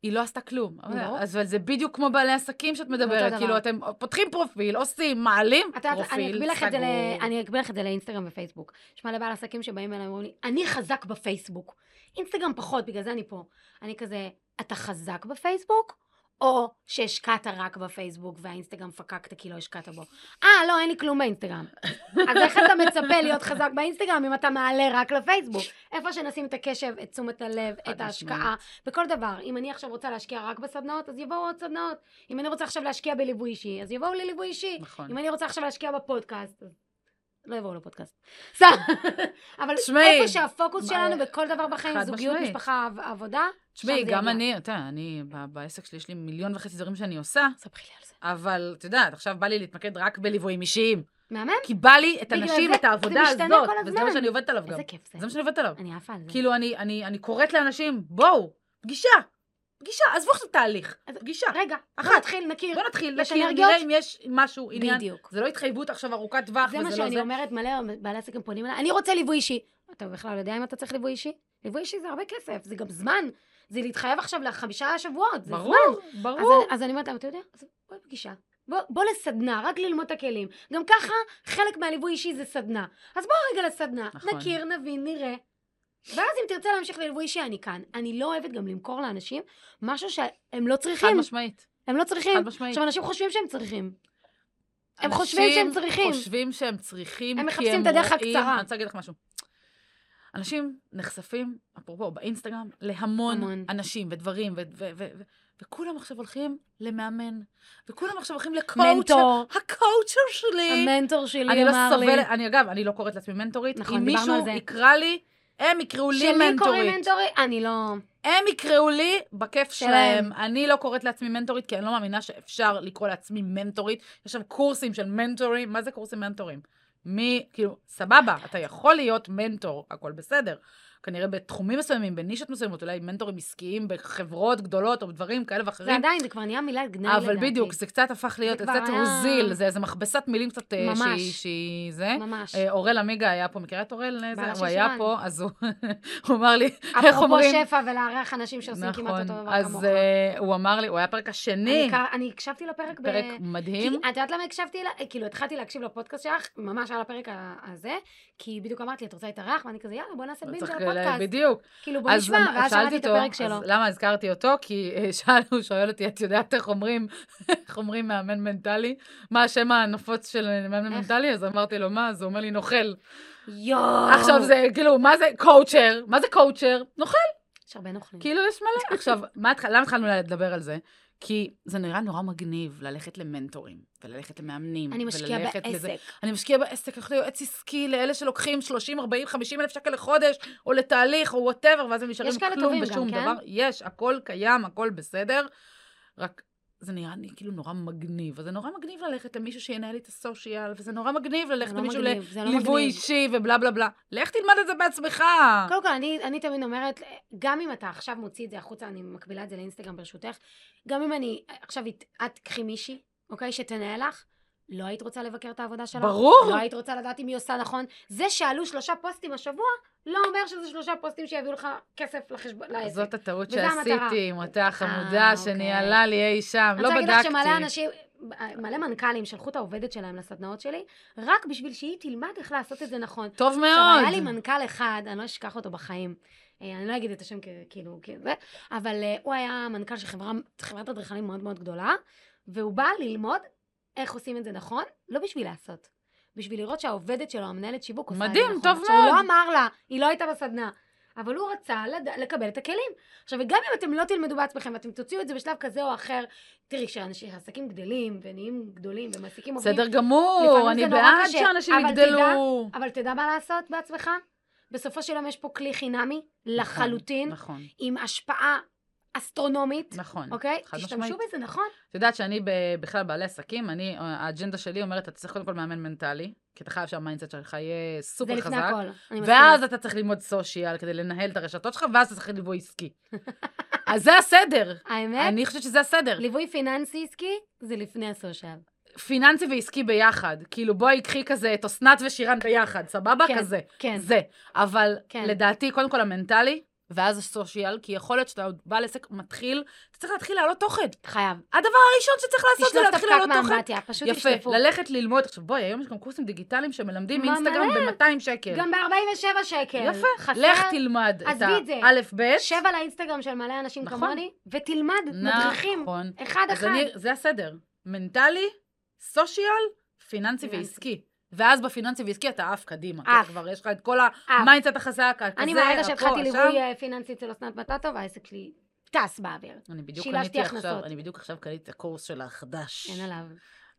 היא לא עשתה כלום. אבל-
ברור.
אז אבל זה בדיוק כמו בעלי עסקים שאת מדברת,
דבר.
כאילו אתם פותחים פרופיל, עושים, מעלים,
אתה יודעת, אני
פרופיל,
אקביל לך את זה ל-
סגור.
אני אקביל לך את זה לאינסטגרם ופייסבוק. יש מלא בעל עסקים שבאים אליי ואומרים לי, אני חזק בפייסבוק. אינסטגרם פחות, בגלל זה אני פה. אני כזה, אתה חזק בפייסבוק? או שהשקעת רק בפייסבוק והאינסטגרם פקקת כי לא השקעת בו. אה, לא, אין לי כלום באינסטגרם. <laughs> אז איך אתה מצפה להיות חזק באינסטגרם אם אתה מעלה רק לפייסבוק? איפה שנשים את הקשב, את תשומת הלב,
חד
את ההשקעה, בכל דבר. אם אני עכשיו רוצה להשקיע רק בסדנאות, אז יבואו עוד סדנאות. אם אני רוצה עכשיו להשקיע בליווי אישי, אז יבואו לי ליווי אישי.
נכון.
אם אני רוצה עכשיו להשקיע בפודקאסט, אז לא יבואו לפודקאסט. סתם. <laughs> אבל
תשמעי,
איפה שהפוקוס
מה-
שלנו בכל דבר בחיים,
חד
זוגיות,
משמעית.
משפחה, עב- עבודה,
תשמעי,
שם זה
גם
יגיע.
אני, אתה יודע, אני, ב- בעסק שלי יש לי מיליון וחצי דברים שאני עושה,
ספרי לי על זה.
אבל את יודעת, עכשיו בא לי להתמקד רק בליוויים אישיים.
מהמם?
כי בא לי את
בגלל
הנשים,
זה-
את העבודה
זה משתנה
הזאת,
כל
וזה מה
הזמן.
שאני עובדת עליו גם.
איזה כיף זה.
זה מה שאני עובדת עליו.
אני עפה על זה.
כאילו, אני- אני אני קוראת לאנשים, בואו, פגישה, פגישה, עזבו עכשיו תהליך,
אז-
פגישה.
רגע, בוא
אחת.
נתחיל, נכיר.
בוא נתחיל,
יש
נכיר,
אנרגיות?
נראה אם יש משהו, עניין.
בדיוק.
זה לא התחייבות עכשיו ארוכת טווח,
זה
וזה
מה
לא
שאני
זה.
אומרת, מלא בעלי עסקים פונים אליי, אני רוצה ליווי אישי. אתה בכלל יודע אם אתה צריך ליווי אישי? ליווי אישי זה הרבה כסף, זה גם זמן. זה להתחייב עכשיו לחמישה שבועות, זה זמן.
ברור,
אז,
ברור.
אני- אז אני אומרת להם, אתה יודע, אז בוא לפגישה. בוא, בוא לסדנה, רק ללמוד את הכלים. גם ככה, חלק מהליווי אישי זה סדנה. אז בוא רגע לסדנה,
נכון.
נכון. נכיר, נבין, נראה. ואז אם תרצה להמשיך לליווי אישי, אני כאן. אני לא אוהבת גם למכור לאנשים משהו שהם לא
חד
צריכים.
משמעית,
הם לא
חד
צריכים.
משמעית.
עכשיו, אנשים חושבים שהם צריכים. הם חושבים שהם
אנשים
צריכים.
חושבים שהם צריכים, כי
הם מחפשים את הדרך
רואים-
הקצרה.
אני רוצה להגיד לך משהו. אנשים נחשפים, אפרופו, באינסטגרם, להמון
המון.
אנשים ודברים, ו- ו- ו- ו- וכולם עכשיו הולכים למאמן, וכולם עכשיו הולכים לקואוצ'ר,
מנטור,
הקואוצ'ר שלי.
המנטור שלי אמר לי.
אני לא סובלת, אני אגב, אני לא קוראת לעצמי מנטורית,
נכון,
אם
דיברנו על
מישהו
זה.
יקרא לי, הם יקראו לי
שלי קוראים
מנטורית.
מנטורית? אני לא...
הם יקראו לי בכיף
שלהם.
שלהם. אני לא קוראת לעצמי מנטורית, כי אני לא מאמינה שאפשר לקרוא לעצמי מנטורית. יש שם קורסים של מנטורים, מה זה קורסים מנטורים? מי, כאילו, סבבה, אתה יכול להיות מנטור, הכל בסדר. כנראה בתחומים מסוימים, בנישות מסוימות, אולי מנטורים עסקיים בחברות גדולות או בדברים כאלה
זה
ואחרים.
עדיין, זה כבר נהיה מילת גנאי לדעתי.
אבל בדיוק, זה קצת הפך להיות,
זה
זה
כבר
קצת
היה-
רוזיל, זה איזה מכבסת מילים קצת אה,
ממש.
שהיא- שהיא זה.
ממש.
אה, אורל עמיגה היה פה, מכירה את אורל?
בעלה
זה,
של
הוא היה
שירן.
פה, אז הוא <laughs> הוא אמר לי, איך
אפרופו
אומרים? נכון,
שפע ולארח אנשים שעושים כמעט אותו דבר
אז
כמוך.
אה, הוא אמר לי, הוא היה הפרק השני,
אני קר- אני הקשבתי לפרק ב...
פרק
כי
מדהים.
את יודעת למה הקשבתי לה? כאילו, התחלתי להקשיב לפודקאסט שלך, ממש על הפרק ה- הזה, כי בדיוק אמרת לי, את רוצה להתארח? ואני כזה, יאללה, בוא נעשה
לא
בינג'
צריך
על
ל-
הפודקאסט.
בדיוק.
כאילו, בוא
אז
נשמע,
אמ-
ואז
שאלתי
שמעתי את
אותו,
הפרק שלו.
אז למה הזכרתי אותו? כי אה, <laughs> שאל, הוא שואל אותי, את יודעת איך אומרים, איך אומרים מאמן מנטלי? מה השם הנפוץ של אה, מאמן
איך?
מנטלי? אז אמרתי לו, מה? אז הוא אומר לי, נוכל.
יואו!
עכשיו זה, כאילו, מה זה קואוצ'ר? מה זה קואוצ'ר? נוכל.
יש הרבה נוכלים.
כאילו, יש מלא. <laughs> עכשיו, מה התח- למה התחלנו לדבר על זה? כי זה נראה נורא מגניב ללכת למנטורים, וללכת למאמנים,
אני משקיעה
וללכת לזה.
בעסק.
אני משקיע בעסק, הולך ליועץ עסקי, לאלה שלוקחים 30, 40, 50 אלף שקל לחודש, או לתהליך, או וואטאבר, ואז הם נשארים
יש כאלה
כלום
טובים גם,
ושום
כן?
דבר. יש, הכל קיים, הכל בסדר, רק זה נראה לי כאילו נורא מגניב. אז זה נורא מגניב ללכת למישהו שינהל לי את הסושיאל, וזה נורא מגניב ללכת
זה לא
למישהו
מגניב, זה לא
לליווי
מגניב.
אישי ובלה בלה בלה. לך תלמד את זה בעצמך.
קודם כל, אני, אני תמיד אומרת, גם אם אתה עכשיו מוציא את זה החוצה, אני מקבילה את זה לאינסטגרם ברשותך, גם אם אני, עכשיו את- את תקחי מישהי, אוקיי, שתנהל לך, לא היית רוצה לבקר את העבודה שלה?
ברור.
לא היית רוצה לדעת אם היא עושה נכון? זה שעלו שלושה פוסטים השבוע, לא אומר שזה שלושה פוסטים שיביאו לך כסף לחשבון, לעסק.
אה, זאת הטעות
וזה המטרה.
שעשיתי עם אותה
אה,
חמודה
אוקיי.
שניהלה לי אי שם, לא
אני רוצה להגיד לך שמלא
בדקתי.
אנשים, מלא מנכ"לים שלחו את העובדת שלהם לסדנאות שלי, רק בשביל שהיא תלמד איך לעשות את זה נכון.
טוב
עכשיו, היה לי
מאוד.
מנכ"ל אחד, אני לא אשכח אותו בחיים. אה, אני לא אגיד את השם כ- כאילו, כי זה, אבל אה, הוא היה מנכ"ל של חברה- חברת אדריכלים מאוד מאוד גדולה, והוא בא ללמוד איך עושים את זה נכון, לא בשביל לעשות. בשביל לראות שהעובדת שלו, המנהלת שיווק, עושה את זה
מדהים,
נכון.
טוב
עכשיו, הוא לא
מאוד.
אמר לה, היא לא הייתה בסדנה. אבל הוא רצה לד... לקבל את הכלים. עכשיו, וגם אם אתם לא תלמדו בעצמכם ואתם תוציאו את זה בשלב כזה או אחר, תראי, כשעסקים גדלים ונהיים גדולים ומעסיקים עובדים,
בסדר גמור,
לפעמים
אני
זה נורא
בעד
קשה,
שאנשים
אבל
יגדלו.
אבל תדע מה לעשות בעצמך? בסופו של יום יש פה כלי חינמי לחלוטין,
נכון,
עם השפעה אסטרונומית,
נכון.
אוקיי?
חד
תשתמשו
משמעית.
בזה, נכון?
את יודעת שאני ב- בכלל בעלי עסקים, אני, אה, האג'נדה שלי אומרת, אתה צריך קודם כל מאמן מנטלי, כי אתה חייב שהמיינדסט שלך יהיה
זה
סופר
לפני
חזק.
הכל. אני מסכימה.
ואז אתה צריך ללמוד סושיאל כדי לנהל את הרשתות שלך, ואז אתה צריך ליווי
<laughs>
עסקי. אז זה הסדר.
האמת,
אני חושבת שזה הסדר.
ליווי פיננסי עסקי זה לפני הסושיאל.
פיננסי ועסקי ביחד. כאילו, בואי קחי כזה את אסנת ושירן ביחד, סבבה?
כן,
כזה.
כן.
זה. אבל
כן.
לדעתי, קודם כל המנטלי, ואז הסושיאל, כי יכול להיות שאתה עוד בעל עסק מתחיל, אתה צריך להתחיל להעלות תוכן.
חייב.
הראשון שצריך לעשות זה
תשלוף את
להתחיל
הפקק
להעלות תוכן.
מהאמבטיה, פשוט
יפה,
תשלפו.
ללכת ללמוד. עכשיו בואי, היום יש גם קורסים דיגיטליים שמלמדים
מה,
אינסטגרם ב-200 שקל.
גם ב-47 שקל.
יפה,
חסר,
לך תלמד את
עזבי את זה.
האלף-בית.
שב על האינסטגרם של מלא אנשים
נכון.
כמוני, ותלמד מדריכים.
נכון.
אחד
אז
אחד.
אני, זה הסדר. מנטלי, סושיאל, פיננסי
פיננסי.
ועסקי. ואז בפיננסי ועסקי אתה עף קדימה.
עף.
אתה כבר יש לך את כל המיינדסט החזק, הכזה,
אה, אני מהרגע שהתחלתי
הפה,
ליווי
השם.
אה, פיננסי אצל אסנת מטאטו, והעסק שלי טס באוויר.
אני בדיוק
שילשתי
קניתי עכשיו,
הכנסות.
אני בדיוק עכשיו קניתי את הקורס שלה החדש.
אין עליו.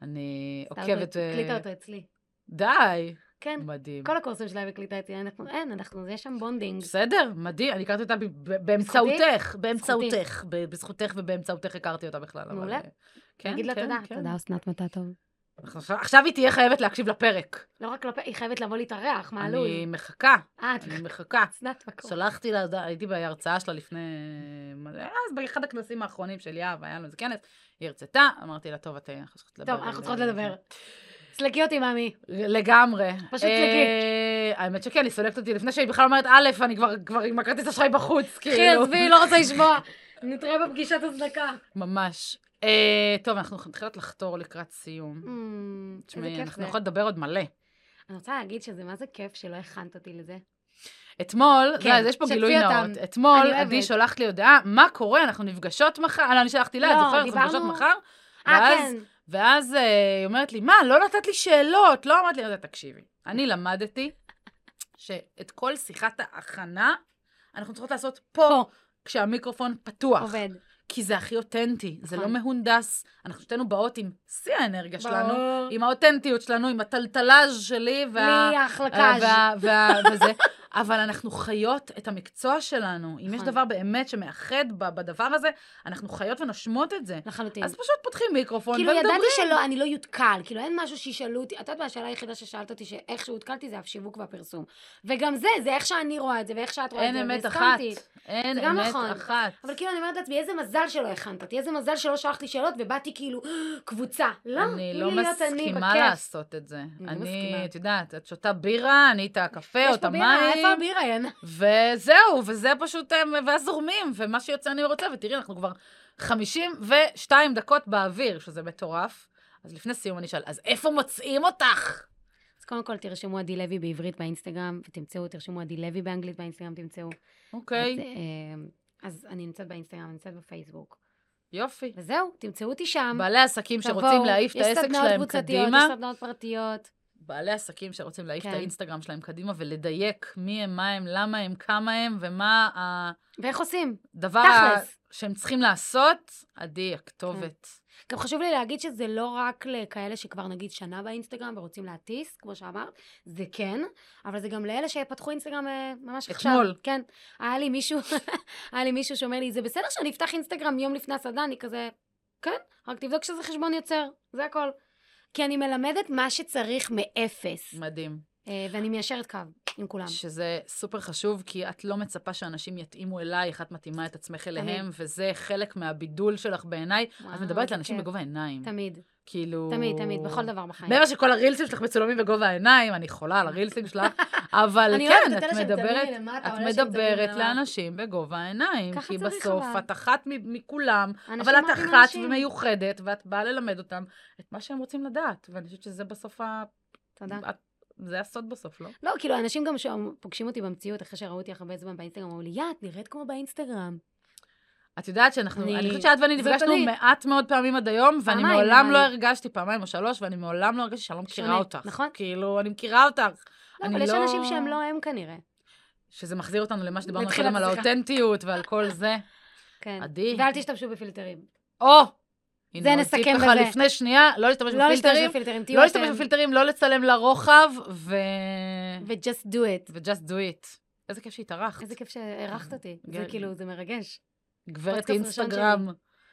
אני
סתם,
עוקבת... אה,
הקליטה אותו אצלי.
די.
כן.
מדהים.
כל הקורסים שלהם הקליטה אצלי, אנחנו, אין, אנחנו, יש שם בונדינג.
בסדר, מדהים, אני הכרתי אותה ב- ב- באמצעותך, באמצעותך, ב- בזכותך ובאמצעותך הכרתי אותה בכלל. אבל,
מעולה.
אה, כן,
נגיד לה
כן,
תודה.
כן.
תודה, אסנת מטאטו.
אנחנו עכשיו- עכשיו היא תהיה חייבת להקשיב לפרק.
לא רק כלפי, היא חייבת לבוא להתארח, מה עלול?
אני מחכה,
אה, את
אני מחכה.
אסנת מקום.
שלחתי לה, הודעה, הייתי בהרצאה שלה לפני... מלא- אז באחד הכנסים האחרונים של יהב, היה לנו איזה כנס, היא הרצתה, אמרתי לה, טוב, את אה, אנחנו צריכות לדבר.
טוב, אנחנו צריכות
על- <laughs>
לדבר. סלקי אותי, מאמי.
לגמרי.
פשוט
אה, האמת שכן, היא סולקת אותי לפני שהיא בכלל אומרת, א', אני כבר- כבר עם הכרטיס אשראי
<laughs>
בחוץ, כאילו.
קחי, עזבי, לא רוצה לשמוע. נתראה בפגישת הזדקה.
ממש. אה, טוב, אנחנו מתחילות לחתור לקראת סיום.
<laughs> אמ, איזה
תשמעי,
כיף
אנחנו
זה.
יכולות לדבר עוד מלא.
אני רוצה להגיד שזה מה זה כיף שלא הכנת אותי לזה.
אתמול,
כן,
כן, זה, יש פה
שתפי
גילוי
אותם.
נאות. אתמול,
אני אוהבת.
עדי שולחת לי הודעה, מה קורה, אנחנו נפגשות מחר? לא, אני שלחתי לה, את
לא,
זוכרת? אנחנו
דיברנו-
נפגשות מחר?
אה,
ואז-
כן.
ואז אה, היא אומרת לי, מה, לא נתת לי שאלות, לא אמרת לי, אז תקשיבי. אני למדתי שאת כל שיחת ההכנה, אנחנו צריכות לעשות פה, כשהמיקרופון פתוח.
עובד.
כי זה הכי אותנטי, זה לא
נכון.
מהונדס. אנחנו שתינו באות עם שיא האנרגיה שלנו,
ברור.
עם האותנטיות שלנו, עם הטלטלז' שלי, וה...
לי
וה-
החלקה.
אה, וה- וה- וזה. אבל אנחנו חיות את המקצוע שלנו. אם יש
נכון.
דבר באמת שמאחד ב- בדבר הזה, אנחנו חיות ונושמות את זה.
לחלוטין.
אז פשוט פותחים מיקרופון
נכון. כאילו,
ומדברים.
ידעתי שלא, אני לא יודקל, כאילו, אין משהו שישאלו אותי, את יודעת מה, השאלה היחידה ששאלת אותי, שאיך שהותקלתי זה השיווק והפרסום. וגם זה, זה איך שאני רואה את זה, ואיך שאת רואה את
אין
זה,
אמת אחת.
והסכמתי.
אין
זה גם
אמת
נכון.
אחת.
אבל כאילו, אני אומרת לעצמי, איזה מזל שלא הכנת אותי, איזה מזל שלא שלחת לי שאלות, ובאתי כאילו, <gasps> קבוצה. לא,
אני
תני
לא
לי להיות אני,
מסכימה
בכיף.
לעשות את זה.
לא
אני,
מסכימה.
את יודעת, את שותה בירה, אני את הקפה או
יש
את
פה בירה, איפה
המים,
הבירה, ין?
וזהו, וזה פשוט, אה, ואז זורמים, ומה שיוצא אני רוצה, ותראי, אנחנו כבר 52 דקות באוויר, שזה מטורף. אז לפני סיום אני אשאל, אז איפה מוצאים אותך?
אז קודם כל, תרשמו עדי לוי בעברית באינסטגרם, ותמצאו, תרשמו עדי לוי באנגלית באינסטגרם, תמצאו. אז,
אוקיי,
אמ, אז אני נמצאת באינסטגרם, אני נמצאת בפייסבוק.
יופי.
וזהו, תמצאו אותי שם.
בעלי עסקים
תבואו.
שרוצים להעיף את
יש
העסק
סדנאות
שלהם
קבוצתיות,
קדימה,
יש סדנאות פרטיות.
בעלי עסקים שרוצים להעיף את
כן.
האינסטגרם שלהם קדימה ולדייק מי הם, מה הם, למה הם, כמה הם, ומה ה...
ואיך עושים?
הדבר ה-
תכלס.
שהם צריכים לעשות, עדי, הכתובת.
גם חשוב לי להגיד שזה לא רק לכאלה שכבר נגיד שנה באינסטגרם ורוצים להטיס, כמו שאמרת, זה כן, אבל זה גם לאלה שפתחו אינסטגרם אה, ממש עכשיו.
אתמול.
כן. היה לי מישהו, <laughs> היה לי מישהו שאומר לי, זה בסדר שאני אפתח אינסטגרם יום לפני הסדנה, אני כזה, כן, רק תבדוק שזה חשבון יוצר, זה הכל. כי אני מלמדת מה שצריך מאפס,
מדהים.
אה, ואני מיישרת קו עם כולם.
שזה סופר חשוב, כי את לא מצפה שאנשים יתאימו אלייך, את מתאימה את עצמך אליהם, וזה חלק מהבידול שלך בעיניי. את
וואו,
מדברת
זה
לאנשים
כיף.
בגובה העיניים.
תמיד,
כאילו...
תמיד, תמיד, בכל דבר בחיים.
מעבר שכל הרילסים שלך מצולמים בגובה העיניים, אני חולה על הרילסים
<laughs>
שלך, אבל
אני לא
כן,
אוהבת את
את
אלה שמצלמים
מדברת,
מלמטה,
את
או אלה שמצלמים
מדברת
מלמעלה.
לאנשים בגובה העיניים,
ככה
כי
צריך,
בסוף
אבל.
את אחת מ- מכולם,
אנשים
אבל את
אוהבים
אחת
אנשים.
ומיוחדת, ואת באה ללמד אותם את מה שהם רוצים לדעת, ואני חושבת שזה בסוף ה...
תודה.
את- זה הסוד בסוף, לא?
לא, כאילו, אנשים גם שפוגשים אותי במציאות, אחרי שראו אותי הרבה זמן באינסטגרם, אמרו לי, יא, את נראית כמו באינסטגרם.
את יודעת שאנחנו,
אני-
אני חושבת שאת ואני
זאת
נפגשנו
אני.
מעט מאוד פעמים עד היום, ואני
פעמיים,
מעולם לא
נראה לי.
הרגשתי, פעמיים או שלוש, ואני מעולם לא הרגשתי שאני לא מכירה
שונה,
אותך.
נכון.
כאילו, אני מכירה אותך.
לא,
אני
אבל יש
לא-
אנשים שהם לא הם כנראה.
שזה מחזיר אותנו למה שדיברנו
מתחילת
קודם על
השיחה.
האותנטיות ועל כל זה.
כן.
עדי.
ואל תשתמשו בפילטרים.
או! הנה,
זה
עוד
נסכם
טיפ לך
בזה.
לפני שנייה, לא להשתמש
לא להשתמש
בפילטרים.
בפילטרים, תהיו
לא להשתמש
אתם.
בפילטרים, לא לצלם לרוחב, ו...
ו-just do it.
ו-just do it. איזה כיף שהתארחת.
איזה כיף שאירחת אותי. זה
גל.
כאילו, זה מרגש.
גברת
פודקאסט ראשון
אינסטגרם.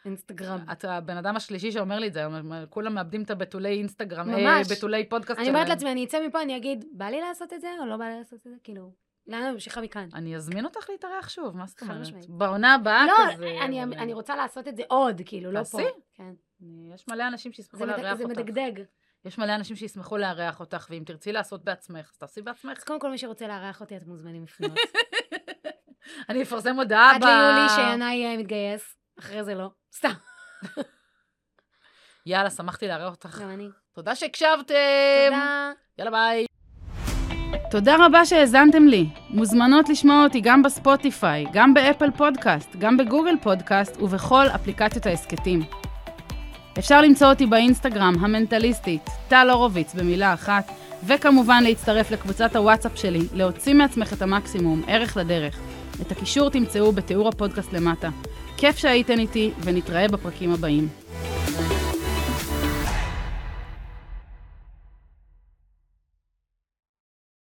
אינסטגרם.
את הבן אדם השלישי שאומר לי את זה, היום, הם- כולם מאבדים את הבתולי אינסטגרם, אה,
ממש.
בתולי פודקאסט
אני
שלהם.
אומרת לעצמי, אני אצא מפה, אני אגיד, בא לי לעשות את זה או לא בא לי לעשות את זה? כאילו, לאן אני ממשיכה מכאן?
אני אזמין אותך להתארח שוב, מה זאת
חד
אומרת?
משמעית.
בעונה הבאה
לא,
כזה.
אני-
אבל-
אני רוצה לעשות את זה עוד, כאילו, לא פה.
תעשי.
כן.
אני- יש מלא אנשים שישמחו
זה מד-
לארח
זה
אותך.
מדגדג.
יש מלא אנשים שישמחו לארח אותך, ואם תרצי לעשות בעצמך, אז תעשי
אז
בעצמך.
קודם כל, מי שרוצה לארח אותי, אתם מוזמנים לפנות.
אני אפרסם הודעה
עד ליולי שינאי אה, מתגייס, אחרי זה לא. סתם,
יאללה, שמחתי לארח אותך.
גם אני.
תודה שהקשבתם.
תודה.
יאללה, ביי.
תודה רבה שהאזנתם לי. מוזמנות לשמוע אותי גם בספוטיפיי, גם באפל פודקאסט, גם בגוגל פודקאסט ובכל אפליקציות ההסכתים. אפשר למצוא אותי באינסטגרם המנטליסטית, טל הורוביץ במילה אחת, וכמובן להצטרף לקבוצת הוואטסאפ שלי, להוציא מעצמך את המקסימום, ערך לדרך. את הקישור תמצאו בתיאור הפודקאסט למטה. כיף שהייתן איתי, ונתראה בפרקים הבאים.